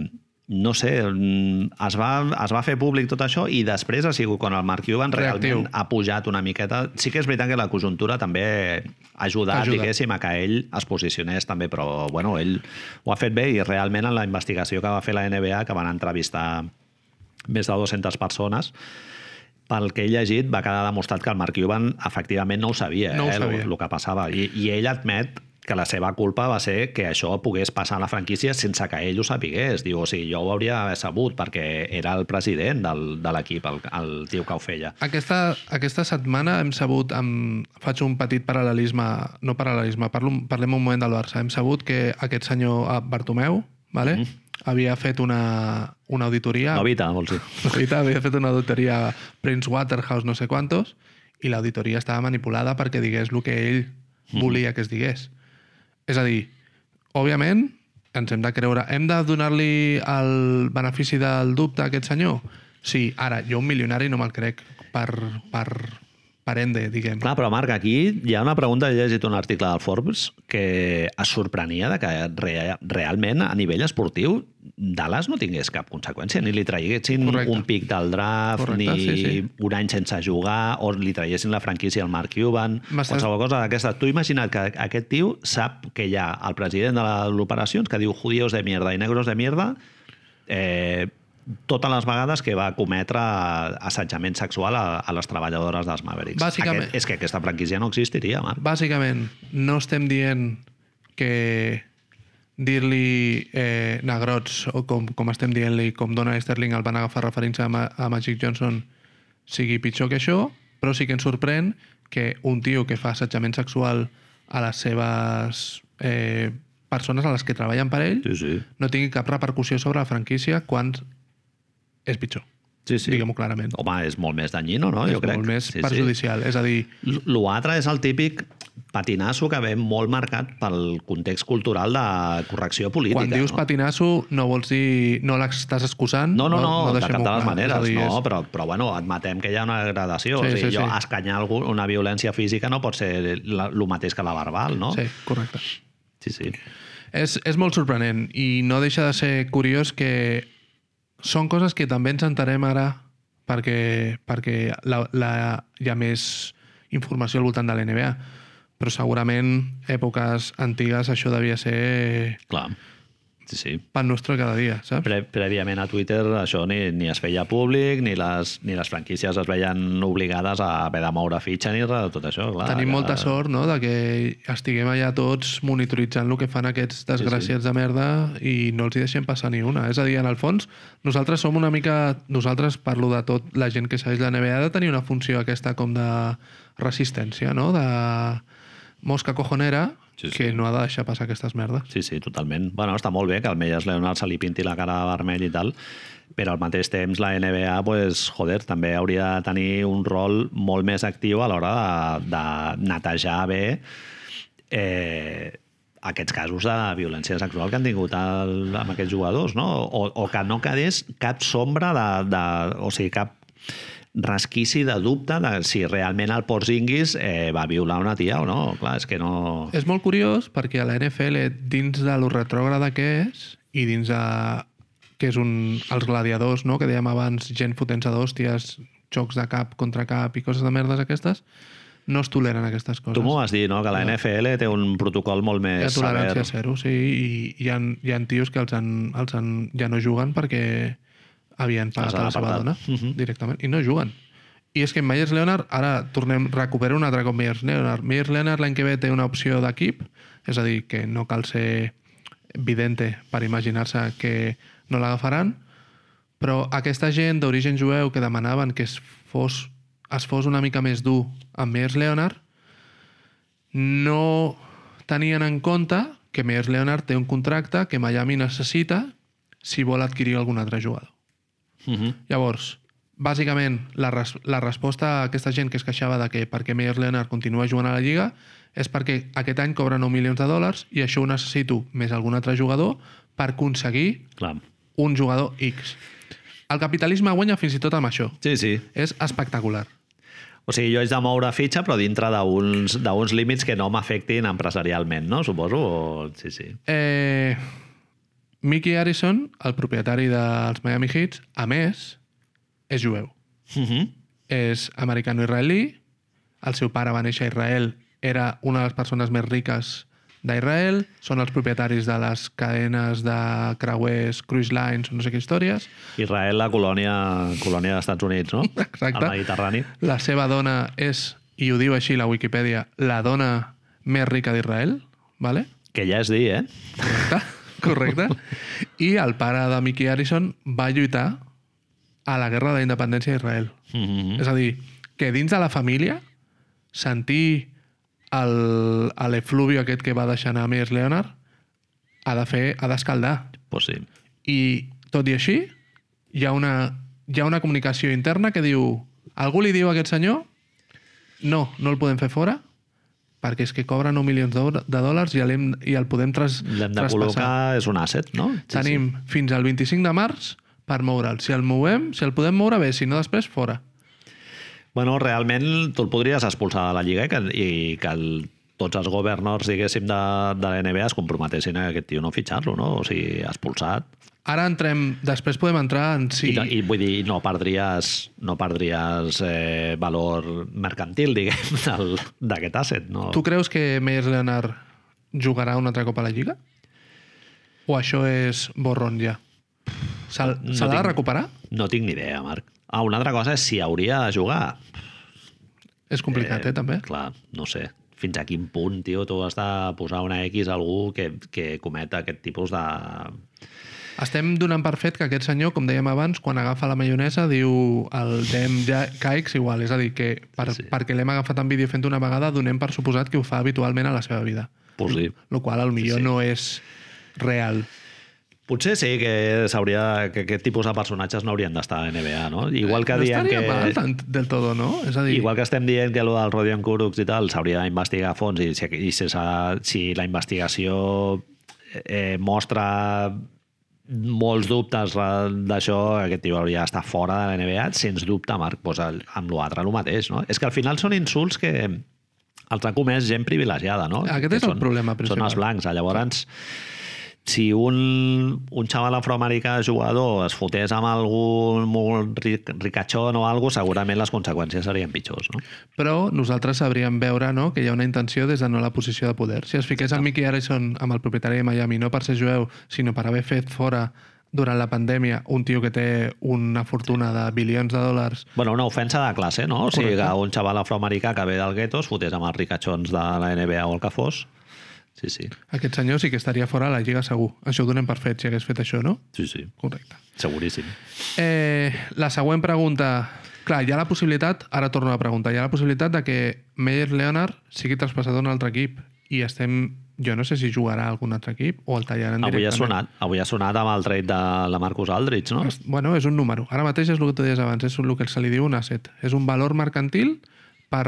S1: no sé, mm, es va, es va fer públic tot això i després ha sigut quan el Mark Cuban
S2: Reactiu.
S1: realment ha pujat una miqueta. Sí que és veritat que la conjuntura també ha ajudat,
S2: Ajuda.
S1: Ajuda. diguéssim, a que ell es posicionés també, però bueno, ell ho ha fet bé i realment en la investigació que va fer la NBA, que van entrevistar més de 200 persones, pel que he llegit va quedar demostrat que el Mark Cuban efectivament no ho sabia,
S2: No ho
S1: eh,
S2: sabia.
S1: El, el que passava. I, I ell admet que la seva culpa va ser que això pogués passar a la franquícia sense que ell ho sapigués. Diu, o sigui, jo ho hauria d'haver sabut perquè era el president del, de l'equip, el, el tio que ho feia.
S2: Aquesta, aquesta setmana hem sabut, amb, faig un petit paral·lelisme, no paral·lelisme, parlo, parlem un moment del Barça, hem sabut que aquest senyor eh, Bartomeu vale? mm. havia fet una, una auditoria...
S1: Novita, vols dir?
S2: Novita havia fet una auditoria a Prince Waterhouse no sé quantos i l'auditoria estava manipulada perquè digués el que ell volia que es digués. És a dir, òbviament, ens hem de creure... Hem de donar-li el benefici del dubte a aquest senyor? Sí, ara, jo un milionari no me'l crec per, per, per ende, diguem.
S1: Clar, però Marc, aquí hi ha una pregunta, he llegit un article del Forbes que es sorprenia de que re, realment a nivell esportiu Dallas no tingués cap conseqüència, ni li traguessin
S2: Correcte.
S1: un pic del draft,
S2: Correcte,
S1: ni
S2: sí, sí.
S1: un any sense jugar, o li traguessin la franquícia al Mark Cuban,
S2: M'estàs-
S1: qualsevol cosa d'aquesta. Tu imagina't que aquest tio sap que hi ha el president de la- l'operacions que diu judíos de mierda i negros de mierda, eh, totes les vegades que va cometre assetjament sexual a, a les treballadores dels Mavericks.
S2: Bàsicament.
S1: Aquest, és que aquesta franquícia no existiria, Marc.
S2: Bàsicament, no estem dient que dir-li eh, negrots, o com, com estem dient-li, com Donald Sterling el van agafar referència a, Ma a Magic Johnson, sigui pitjor que això, però sí que ens sorprèn que un tio que fa assetjament sexual a les seves eh, persones a les que treballen per ell
S1: Sí, sí.
S2: no tingui cap repercussió sobre la franquícia quan és pitjor,
S1: sí, sí.
S2: diguem-ho clarament.
S1: Home, és molt més danyino, no?
S2: és
S1: jo crec.
S2: molt més perjudicial. És a dir,
S1: L- L'altre és el típic patinasso que ve molt marcat pel context cultural de correcció política.
S2: Quan dius
S1: no?
S2: patinasso no vols dir no l'estàs excusant.
S1: No, no, no, no de
S2: deixem-ho
S1: cap de les
S2: clar.
S1: maneres,
S2: És a dir,
S1: no,
S2: és-
S1: però, però bueno, admetem que hi ha una gradació.
S2: Sí,
S1: Sí, o sigui,
S2: sí,
S1: sí, jo
S2: sí.
S1: escanyar algú, una violència física no pot ser la, el mateix que la verbal, no?
S2: Sí, correcte.
S1: sí. sí.
S2: És, és molt sorprenent i no deixa de ser curiós que són coses que també ens entarem ara perquè, perquè la, la, hi ha més informació al voltant de l'NBA. Però segurament èpoques antigues això devia ser
S1: Clar. Sí, sí.
S2: pan nostre cada dia, saps?
S1: Pre prèviament a Twitter això ni, ni es feia públic, ni les, ni les franquícies es veien obligades a haver de moure fitxa ni res de tot això. Clar,
S2: Tenim
S1: que-
S2: molta sort, no?, de que estiguem allà tots monitoritzant el que fan aquests desgraciats sí, sí. de merda i no els hi deixem passar ni una. És a dir, en el fons, nosaltres som una mica... Nosaltres, parlo de tot, la gent que segueix la NBA ha de tenir una funció aquesta com de resistència, no?, de mosca cojonera,
S1: Sí,
S2: sí,
S1: sí.
S2: sí. que no ha de deixar passar aquestes merdes.
S1: Sí, sí, totalment. Bueno, està molt bé que al Meyers Leonard se li pinti la cara de vermell i tal, però al mateix temps la NBA, pues, joder, també hauria de tenir un rol molt més actiu a l'hora de, de netejar bé eh, aquests casos de violència sexual que han tingut el, amb aquests jugadors, no? O, o que no quedés cap sombra de... de o sigui, cap resquici de dubte de si realment el Porzingis eh, va violar una tia o no. Clar, és que no...
S2: És molt curiós perquè a la NFL, dins de lo retrògrada que és, i dins de que és un, els gladiadors, no? que dèiem abans, gent fotent-se d'hòsties, xocs de cap contra cap i coses de merdes aquestes, no es toleren aquestes coses.
S1: Tu m'ho vas dir, no? Que la NFL té un protocol molt
S2: Hi
S1: més
S2: ha tolerància
S1: sever.
S2: zero, sí, i hi ha, hi ha tios que els han, els han, ja no juguen perquè havien pagat
S1: han
S2: a la seva
S1: apartat.
S2: dona directament, i no juguen. I és que Myers Leonard, ara tornem, recupero un altre cop Myers Leonard. Myers Leonard l'any que ve té una opció d'equip, és a dir, que no cal ser vidente per imaginar-se que no l'agafaran, però aquesta gent d'origen jueu que demanaven que es fos, es fos una mica més dur amb Myers Leonard, no tenien en compte que Myers Leonard té un contracte que Miami necessita si vol adquirir algun altre jugador.
S1: Uh -huh.
S2: Llavors, bàsicament, la, res la resposta a aquesta gent que es queixava de que perquè Myers Leonard continua jugant a la Lliga és perquè aquest any cobra 9 milions de dòlars i això ho necessito més algun altre jugador per aconseguir
S1: Clar.
S2: un jugador X. El capitalisme guanya fins i tot amb això.
S1: Sí, sí.
S2: És espectacular.
S1: O sigui, jo haig de moure fitxa, però dintre d'uns d'uns límits que no m'afectin empresarialment, no? Suposo? O... Sí, sí.
S2: Eh, Mickey Harrison, el propietari dels Miami Heat, a més, és jueu.
S1: Uh -huh.
S2: És americano-israelí, el seu pare va néixer a Israel, era una de les persones més riques d'Israel, són els propietaris de les cadenes de creuers, cruise lines, no sé què històries.
S1: Israel, la colònia, colònia dels Estats Units, no?
S2: Exacte.
S1: El Mediterrani.
S2: La seva dona és, i ho diu així la Wikipedia, la dona més rica d'Israel, ¿vale?
S1: Que ja és dir, eh?
S2: Correcte, correcte. I el pare de Mickey Harrison va lluitar a la Guerra de la Independència d'Israel.
S1: Uh -huh.
S2: És a dir, que dins de la família sentir el- a l'efluvio aquest que va deixar anar Myers Leonard ha de fer, ha d'escaldar.
S1: Pues sí.
S2: I tot i així, hi ha una, hi ha una comunicació interna que diu algú li diu a aquest senyor no, no el podem fer fora perquè és que cobra 9 milions d'or- de dòlars i, l'hem- i el podem tras,
S1: L'hem de
S2: traspassar.
S1: col·locar, és un asset, no? Sí,
S2: Tenim sí. fins al 25 de març per moure'l. Si el movem, si el podem moure bé, si no després, fora.
S1: Sí. Bueno, realment tu el podries expulsar de la Lliga i que, i que el, tots els governors, diguéssim, de, de la NBA es comprometessin a que aquest tio no fitxar-lo, no? O sigui, expulsat.
S2: Ara entrem... Després podem entrar en
S1: I,
S2: si...
S1: ta- i vull dir, no perdries, no perdries eh, valor mercantil, diguem, del- d'aquest asset. No?
S2: Tu creus que Meyers Leonard jugarà un altre cop a la Lliga? O això és borrón ja? Se,
S1: No
S2: se l'ha de
S1: tinc-
S2: recuperar?
S1: No tinc ni idea, Marc. Ah, una altra cosa és si hauria de jugar.
S2: És complicat, eh, també.
S1: Clar, no sé. Fins a quin punt, tio, tu has de posar una X a algú que, que cometa aquest tipus de...
S2: Estem donant per fet que aquest senyor, com dèiem abans, quan agafa la maionesa diu el dem ja caics igual. És a dir, que per, sí. perquè l'hem agafat en vídeo fent una vegada, donem per suposat que ho fa habitualment a la seva vida.
S1: Pues sí.
S2: el qual al millor
S1: Sí, sí.
S2: no és real.
S1: Potser sí que s'hauria que aquest tipus de personatges no haurien d'estar a NBA, no? Igual que
S2: no
S1: diem
S2: estaria
S1: que...
S2: mal tant del todo, no? És a dir,
S1: Igual que estem dient que allò del Rodion Kurux i tal s'hauria d'investigar a fons i si, i si, s'ha- si la investigació eh, mostra molts dubtes re- d'això, aquest tio hauria d'estar fora de la NBA, sens dubte, Marc, doncs el, amb l'altre el mateix, no? És que al final són insults que els ha comès gent privilegiada, no?
S2: Aquest
S1: Que
S2: és el
S1: són,
S2: problema
S1: Són
S2: principal.
S1: els blancs, Ah, llavors si un, un xaval afroamericà jugador es fotés amb algú molt ric, ricachón o algo, segurament les conseqüències serien pitjors, no?
S2: però nosaltres sabríem veure no, que hi ha una intenció des de no la posició de poder. Si es fiqués en Mickey Harrison amb el propietari de Miami, no per ser jueu, sinó per haver fet fora durant la pandèmia un tio que té una fortuna de bilions de dòlars,
S1: Bueno, una ofensa de classe, no? O sigui, que un xaval afroamericà que ve del gueto es fotés amb els ricachons de la NBA o el que fos. Sí, sí.
S2: aquest senyor sí que estaria fora de la Lliga segur. Això ho donem per fet, si hagués fet això, no?
S1: Sí, sí.
S2: Correcte.
S1: Seguríssim.
S2: Eh, la següent pregunta... Clar, hi ha la possibilitat, ara torno a la pregunta, hi ha la possibilitat de que Meyer Leonard sigui traspassat a un altre equip i estem... Jo no sé si jugarà a algun altre equip o el tallaran
S1: Avui ha
S2: directament.
S1: sonat, avui ha sonat amb el trade de la Marcus Aldridge, no?
S2: Bueno, és un número. Ara mateix és el que tu deies abans, és el que se li diu un asset. És un valor mercantil per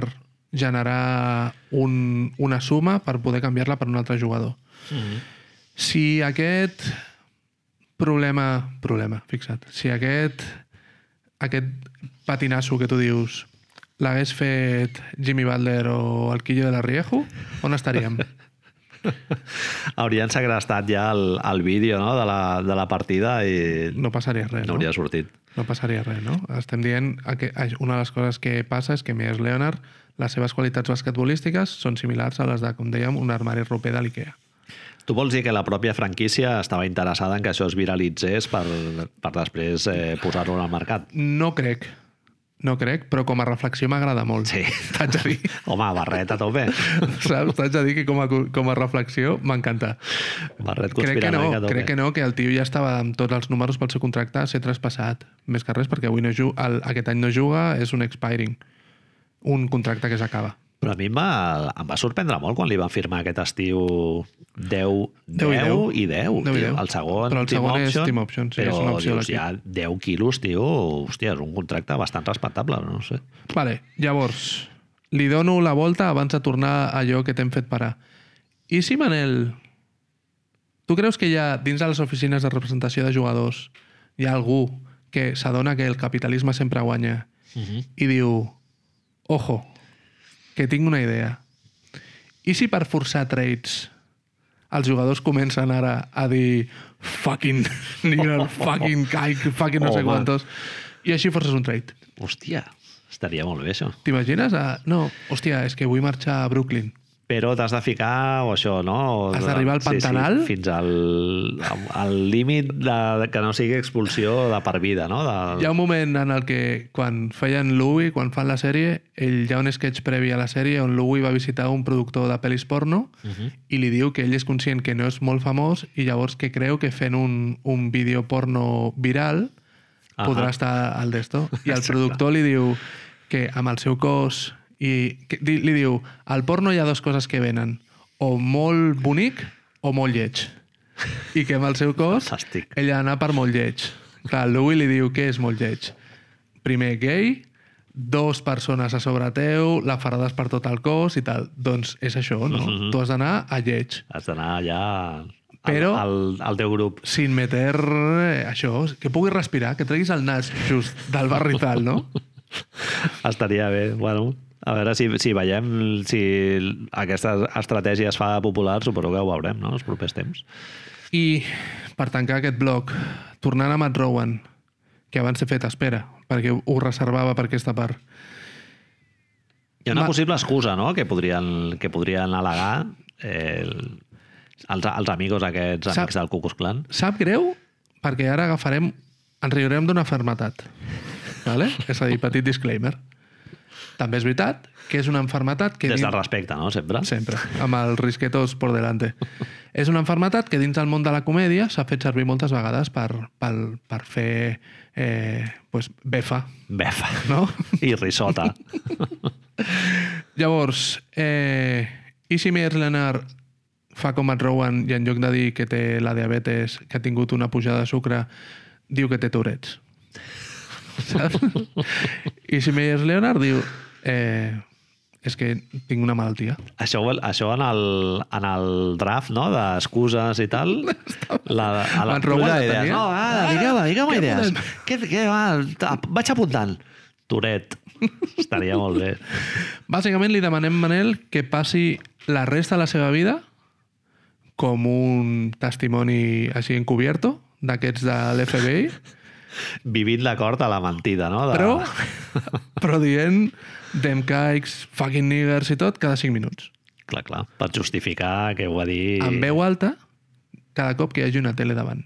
S2: generar un, una suma per poder canviar-la per un altre jugador. Si aquest problema... Problema, fixa't. Si aquest, aquest patinasso que tu dius l'hagués fet Jimmy Butler o el Quillo de la Riejo, on estaríem?
S1: Haurien segrestat ja el, el vídeo no? de, la, de la partida i no,
S2: No passaria res, no?
S1: hauria sortit.
S2: No passaria res, no? Estem dient que una de les coses que passa és que Mies Leonard, les seves qualitats basquetbolístiques són similars a les de, com dèiem, un armari roper de l'IKEA.
S1: Tu vols dir que la pròpia franquícia estava interessada en que això es viralitzés per, per després eh, posar-lo al mercat?
S2: No crec. No crec, però com a reflexió m'agrada molt.
S1: Sí.
S2: T'haig de dir.
S1: Home, barret a tope.
S2: Saps? T'haig de dir que com a, com a reflexió m'encanta.
S1: Barret
S2: Crec que no,
S1: conspiranoic a tope.
S2: crec que no, que el tio ja estava amb tots els números pel seu contracte a ser traspassat. Més que res, perquè avui no juga, el, aquest any no juga, és un expiring. Un contracte que s'acaba.
S1: Però a mi em va, em va sorprendre molt quan li van firmar aquest estiu 10, 10,
S2: 10
S1: i
S2: i 10.
S1: 10.
S2: 10 i
S1: tio.
S2: 10.
S1: El segon,
S2: Però el
S1: team
S2: segon és
S1: option,
S2: team option, sí,
S1: però
S2: és una opció a
S1: dius, ja 10 quilos, tio, hòstia, és un contracte bastant respectable, no sé.
S2: Vale, llavors, li dono la volta abans de tornar a allò que t'hem fet parar. I si, Manel, tu creus que hi ha dins de les oficines de representació de jugadors hi ha algú que s'adona que el capitalisme sempre guanya i diu, ojo, que tinc una idea. I si per forçar trades els jugadors comencen ara a dir fucking nigger, fucking kike, fucking no sé
S1: Home.
S2: quantos, i així forces un trade.
S1: Hòstia, estaria molt bé, això.
S2: T'imagines? A... No, hòstia, és que vull marxar a Brooklyn.
S1: Però t'has de ficar o això, no? O-
S2: Has d'arribar al Pantanal?
S1: Sí, sí, fins al al límit de, que no sigui expulsió de per vida, no? De,
S2: Hi ha un moment en el que, quan feien Louis, quan fan la sèrie, ell, hi ha un sketch previ a la sèrie on Louis va visitar un productor de pel·lis porno uh -huh. i li diu que ell és conscient que no és molt famós i llavors que creu que fent un, un vídeo porno viral
S1: Ahà.
S2: podrà estar al d'esto. I el productor li diu que amb el seu cos... I, que, di- li diu, al porno hi ha dues coses que venen, o molt bonic o molt lleig. I que amb el seu cos
S1: Fantàstic.
S2: ell ha d'anar per molt lleig. Clar, el Louis li diu què és molt lleig. Primer, gay, dos persones a sobre teu, lafarades per tot el cos i tal. Doncs és això, no? Tu has d'anar a lleig.
S1: Has d'anar ja al,
S2: Però-
S1: al, al teu grup.
S2: Sin meter eh, això, que puguis respirar, que treguis el nas just del barrizal, no?
S1: Estaria bé, bueno... A veure si, si veiem si aquesta estratègia es fa popular, suposo que ho veurem, no?, els propers temps.
S2: I, per tancar aquest bloc, tornant a Matt Rowan, que abans he fet espera, perquè ho reservava per aquesta part.
S1: Hi ha una
S2: Ma-
S1: possible excusa, no?, que podrien, que podrien al·legar eh, el- els, els amigos aquests,
S2: Sap-
S1: amics del Ku Klux Klan.
S2: Sap greu, perquè ara agafarem... Ens riurem d'una enfermetat. Vale? És a dir, petit disclaimer. També és veritat que és una enfermetat que...
S1: Des del
S2: dins-
S1: respecte, no?, sempre.
S2: Sempre, amb els risquetos por delante. És una enfermetat que dins del món de la comèdia s'ha fet servir moltes vegades per, per, per fer eh, pues, befa,
S1: Befa.
S2: no?
S1: I risota.
S2: Llavors, eh, i si Mears Leonard fa com et Rowan i en lloc de dir que té la diabetes, que ha tingut una pujada de sucre, diu que té Tourette? Saps? I si Mears Leonard diu eh, és que tinc una malaltia.
S1: Això, ho- això en, el, en el draft, no?, d'excuses i tal, la, a la
S2: Me'n robo
S1: pluja
S2: la
S1: d'idees.
S2: tenia. Ah,
S1: No, ara, digueu-me, digueu-me
S2: Què
S1: idees.
S2: podem-
S1: Què, què, va, ap- vaig apuntant. Toret. Estaria molt bé.
S2: Bàsicament li demanem, Manel, que passi la resta de la seva vida com un testimoni així encubierto d'aquests de l'FBI,
S1: Vivint l'acord a la mentida, no? De...
S2: però, però dient dem caics, fucking niggers i tot cada 5 minuts.
S1: Clar, clar, per justificar que ho va dir...
S2: I... En veu alta cada cop que hi hagi una tele davant.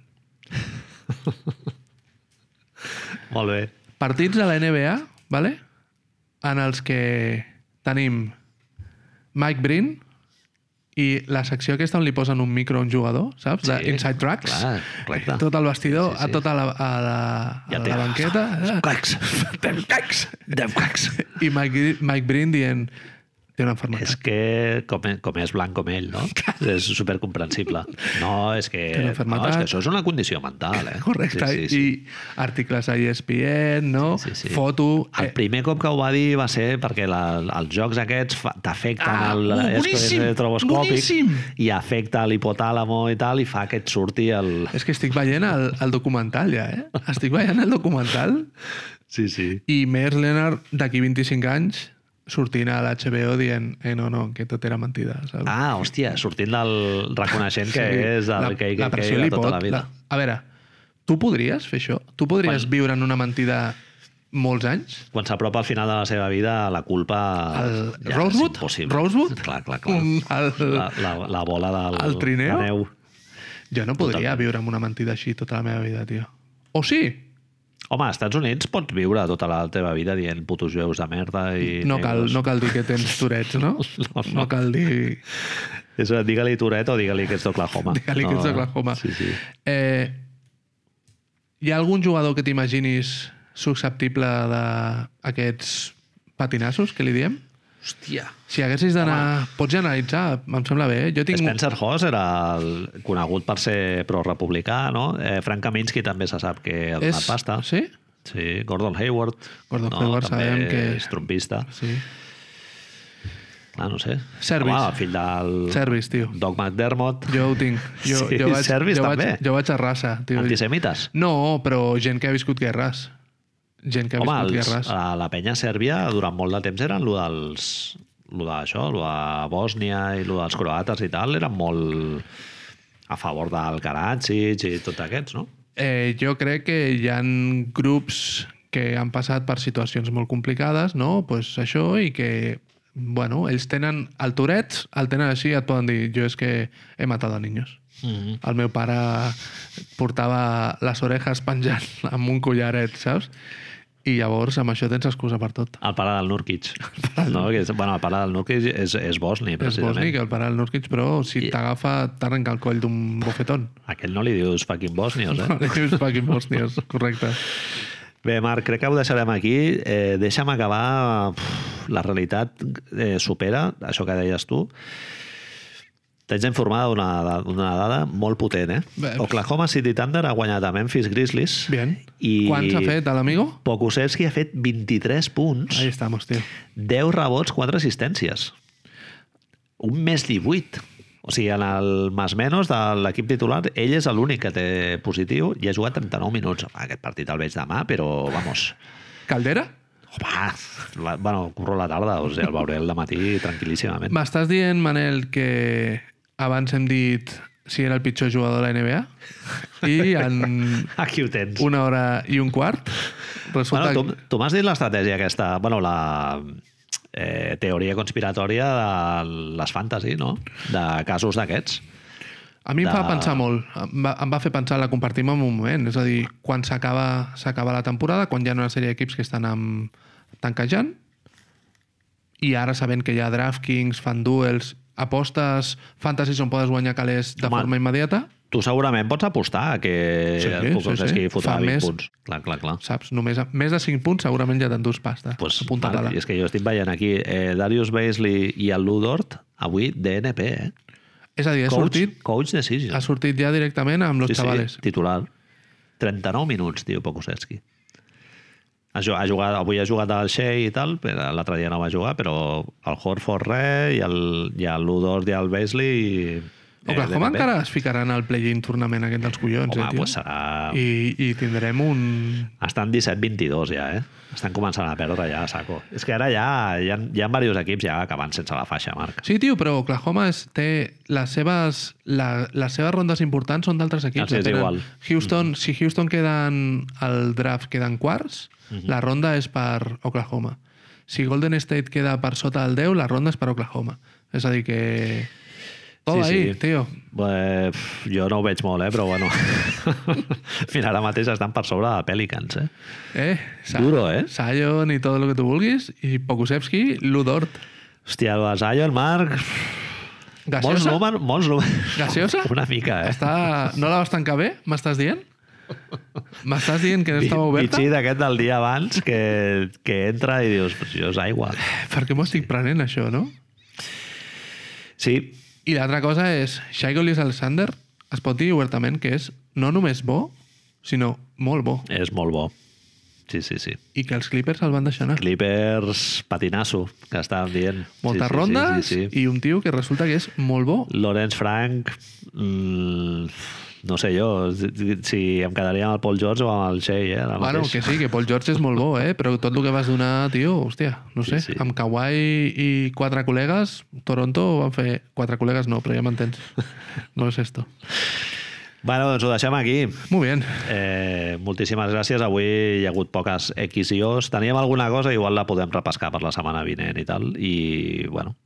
S1: Molt bé.
S2: Partits de la NBA, vale? en els que tenim Mike Breen i la secció aquesta on li posen un micro a un jugador, saps? Sí,
S1: Sí,
S2: Inside Tracks.
S1: clar, correcte.
S2: Tot el vestidor,
S1: Sí, sí,
S2: sí, sí,
S1: sí.
S2: a tota la, a la, a
S1: Ja té-
S2: la banqueta. Ah. eh?
S1: Cacs.
S2: Dem cacs!
S1: Dem cacs.
S2: I Mike, Mike Breen dient té una
S1: És
S2: enfermedad.
S1: que com, e, com és blanc com ell, no? És supercomprensible. No, és que,
S2: Té
S1: no,
S2: una enfermedad.
S1: és que això és una condició mental, eh?
S2: Correcte.
S1: Sí, sí, sí.
S2: I articles a E ESPN, no?
S1: Sí, sí, sí.
S2: Foto... Eh,
S1: El primer cop que ho va dir va ser perquè la, els jocs aquests fa- t'afecten
S2: Ah,
S1: el
S2: uh,
S1: esto és
S2: boníssim,
S1: electroscòpic
S2: boníssim.
S1: i afecta l'hipotàlamo i tal i fa que et surti el...
S2: És que estic veient el, el documental ja, eh? Estic veient el documental
S1: Sí, sí.
S2: i Mears Leonard d'aquí 25 anys sortint a l'HBO dient eh, no, no, que tot era mentida, saps?
S1: Ah, hòstia, sortint del... reconeixent que és el que
S2: la
S1: que
S2: pressió
S1: de
S2: li
S1: tota
S2: pot-
S1: la vida.
S2: La... A veure, tu podries fer això? Tu podries
S1: Quan-
S2: viure en una mentida molts anys?
S1: Quan s'apropa al final de la seva vida, la culpa...
S2: El
S1: és
S2: Rosewood?
S1: impossible.
S2: Rosewood?
S1: Clar, clar, clar.
S2: Un- el-
S1: La, la, la bola del...
S2: el trineu?
S1: la neu.
S2: Jo no podria viure amb una mentida així tota la meva vida, tio. O sí?
S1: Home, als Estats Units pots viure tota la teva vida dient putos jueus de merda i...
S2: No cal,
S1: negres.
S2: no cal dir que tens turets, no?
S1: No, no.
S2: no cal dir...
S1: És, a dir, digue-li Tourette o digue-li que ets d'Oklahoma.
S2: Digue-li que ets d'Oklahoma.
S1: Sí, sí.
S2: Eh, hi ha algun jugador que t'imaginis susceptible d'aquests patinassos, que li diem?
S1: Hòstia.
S2: Si haguessis d'anar... Pots generalitzar, em sembla bé. eh? Jo tinc...
S1: Spencer Hawes era el conegut per ser pro-republicà, no? Eh, Frank Kaminsky també se sap que ha donat pasta.
S2: Sí?
S1: Sí, Gordon Hayward.
S2: Gordon Hayward
S1: també
S2: sabem que-
S1: és trompista.
S2: Sí.
S1: Clar, no sé.
S2: Service.
S1: Home, el fill del
S2: Servis, tio.
S1: Doc McDermott.
S2: Jo ho tinc. Jo,
S1: Sí,
S2: jo vaig,
S1: Servis
S2: jo
S1: també.
S2: Vaig, jo vaig a raça, tio.
S1: Antisemites.
S2: No, però gent que ha viscut guerres. Gent que ha
S1: Home,
S2: viscut
S1: els,
S2: guerres.
S1: la, la penya sèrbia durant molt de temps eren lo dels lo d'això, lo de Bòsnia i lo dels croates i tal, eren molt a favor del Karadzic i tot aquests, no?
S2: Eh, jo crec que hi han grups que han passat per situacions molt complicades, no? pues això, i que, bueno, ells tenen el Tourette, el tenen així i et poden dir jo és que he matat a niños.
S1: Mm
S2: El meu pare portava les orejas penjant amb un collaret, saps? I llavors amb això tens excusa per tot.
S1: El pare del Nurkic. No? Que és, bueno, el pare del Nurkic és, és bosni,
S2: És
S1: precisament.
S2: bosnic, el pare del Nurkic, però si
S1: I-
S2: t'agafa t'arrenca el coll d'un bofetón.
S1: Aquell no li dius fucking bosnios, eh?
S2: No, li dius fucking bòsnies, correcte.
S1: Bé, Marc, crec que ho deixarem aquí. Eh, deixa'm acabar... Uf, la realitat eh, supera això que deies tu. T'haig d'informar d'una da- d'una dada molt potent, eh?
S2: Bé.
S1: Oklahoma City Thunder ha guanyat a Memphis Grizzlies.
S2: Bien.
S1: I
S2: Quants ha fet, l'amigo?
S1: Pokusevski ha fet 23 punts,
S2: Ahí estamos, tío.
S1: 10 rebots, 4 assistències. Un més 18. O sigui, en el més menys de l'equip titular, ell és l'únic que té positiu i ha jugat 39 minuts. Home, Aquest partit el veig demà, però, vamos,
S2: ¿Caldera?
S1: Home, la, bueno, curro a la tarda, o sigui, el veuré el matí tranquil·líssimament.
S2: M'estàs dient, Manel, que abans hem dit si era el pitjor jugador de la NBA i en
S1: Aquí ho tens.
S2: una hora i un quart resulta
S1: Bueno,
S2: bueno,
S1: tu tu m'has dit l'estratègia aquesta, bueno, la eh, teoria conspiratòria de les fantasy, no? De casos d'aquests.
S2: A mi em fa
S1: de-
S2: pensar molt, em va, em va fer pensar, la compartim en un moment, és a dir, quan s'acaba s'acaba la temporada, quan hi ha una sèrie d'equips que estan amb, tanquejant, i ara sabent que hi ha DraftKings, fan duels, apostes, fantasies on podes guanyar calés de
S1: Home.
S2: forma immediata,
S1: Tu segurament pots apostar a que
S2: Sí,
S1: sí,
S2: sí,
S1: el Kukoseski sí, sí.
S2: sí.
S1: fotrà
S2: Fa
S1: 20
S2: més.
S1: més... punts. Clar, clar, clar.
S2: saps? Només, més de 5 punts segurament ja t'endús pasta.
S1: Pues,
S2: Apunta-la.
S1: Marc, i és que jo estic veient aquí eh, Darius Baisley i el Lou Dort, avui DNP, eh?
S2: És a dir, ha
S1: Coach,
S2: sortit,
S1: coach decision.
S2: ha sortit ja directament amb los sí, chavales. Sí.
S1: titular. 39 minuts, diu Pokusevski. Ha ju- ha jugat, avui ha jugat al Shea i tal, però l'altre dia no va jugar, però el Horford re, i el, i el Ludor i el Beasley... I, eh,
S2: Oklahoma
S1: DNP.
S2: encara es ficaran al play-in tornament aquest dels collons,
S1: Home,
S2: eh, tio?
S1: pues serà... I...
S2: I, I tindrem un...
S1: Estan 17-22 ja, eh? Estan començant a perdre ja, saco. És que ara ja hi ha, hi ha diversos equips ja que van sense la faixa, Marc.
S2: Sí, tio, però Oklahoma és, té les seves, la, les seves rondes importants són d'altres
S1: Ah,
S2: equips.
S1: sí, és
S2: tenen-
S1: igual.
S2: Houston, Si Houston queden al draft queden quarts, la ronda és per Oklahoma. Si Golden State queda per sota del 10, la ronda és per Oklahoma. És a dir que... Tot
S1: Sí,
S2: sí, ahí,
S1: sí.
S2: tio.
S1: Eh, pf, jo no ho veig molt, eh? Però bueno. Mira, ara mateix estan per sobre de Pelicans, eh?
S2: Eh, Sa-
S1: Duro, eh?
S2: Sion y todo lo que tú vulguis, y Pokusevski, Ludort.
S1: Hòstia, el Vasallo, el Marc... Molts
S2: Gaseosa?
S1: números, molts números.
S2: Gaseosa?
S1: Una mica, eh?
S2: Està... No la vas tancar bé, m'estàs dient? M'estàs dient que no estava oberta?
S1: Pitxí d'aquest del dia abans que, que entra i dius, "Pues jo és aigua.
S2: Per què m'ho estic prenent, això, no?
S1: Sí,
S2: I l'altra cosa és, Shai Gilgeous Alexander es pot dir obertament que és no només bo, sinó molt bo.
S1: és molt bo. Sí, sí, sí.
S2: I que els Clippers el van deixar anar.
S1: Clippers, patinasso, que estàvem dient.
S2: Moltes
S1: sí, sí,
S2: rondes
S1: Sí, sí, sí.
S2: i un tio que resulta que és molt bo.
S1: Lorenz Frank... Mm, no sé jo si em quedaria amb el Paul George o amb el Shea, eh? ara
S2: Bueno,
S1: mateix.
S2: que sí, que Paul George és molt bo, eh? Però tot el que vas donar, tio, hòstia, no
S1: Sí,
S2: sé.
S1: sí.
S2: Amb Kawhi i quatre col·legues, Toronto van fer... Quatre col·legues no, però ja m'entens. No és esto.
S1: Bueno, doncs ho deixem aquí.
S2: Muy bien.
S1: Eh, moltíssimes gràcies. Avui hi ha hagut poques X i O's. Teníem alguna cosa, igual la podem repescar per la setmana vinent i tal. I, bueno,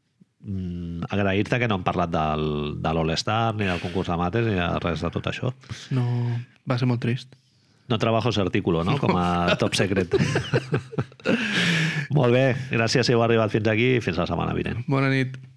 S1: mm, agrair-te que no hem parlat del, de l'All-Star, ni del concurs de mates, ni de res de tot això.
S2: No... Va ser molt trist.
S1: No trabajo ese artículo, no? Com a top secret. Molt bé, gràcies si heu arribat fins aquí i fins la setmana vinent.
S2: Bona nit.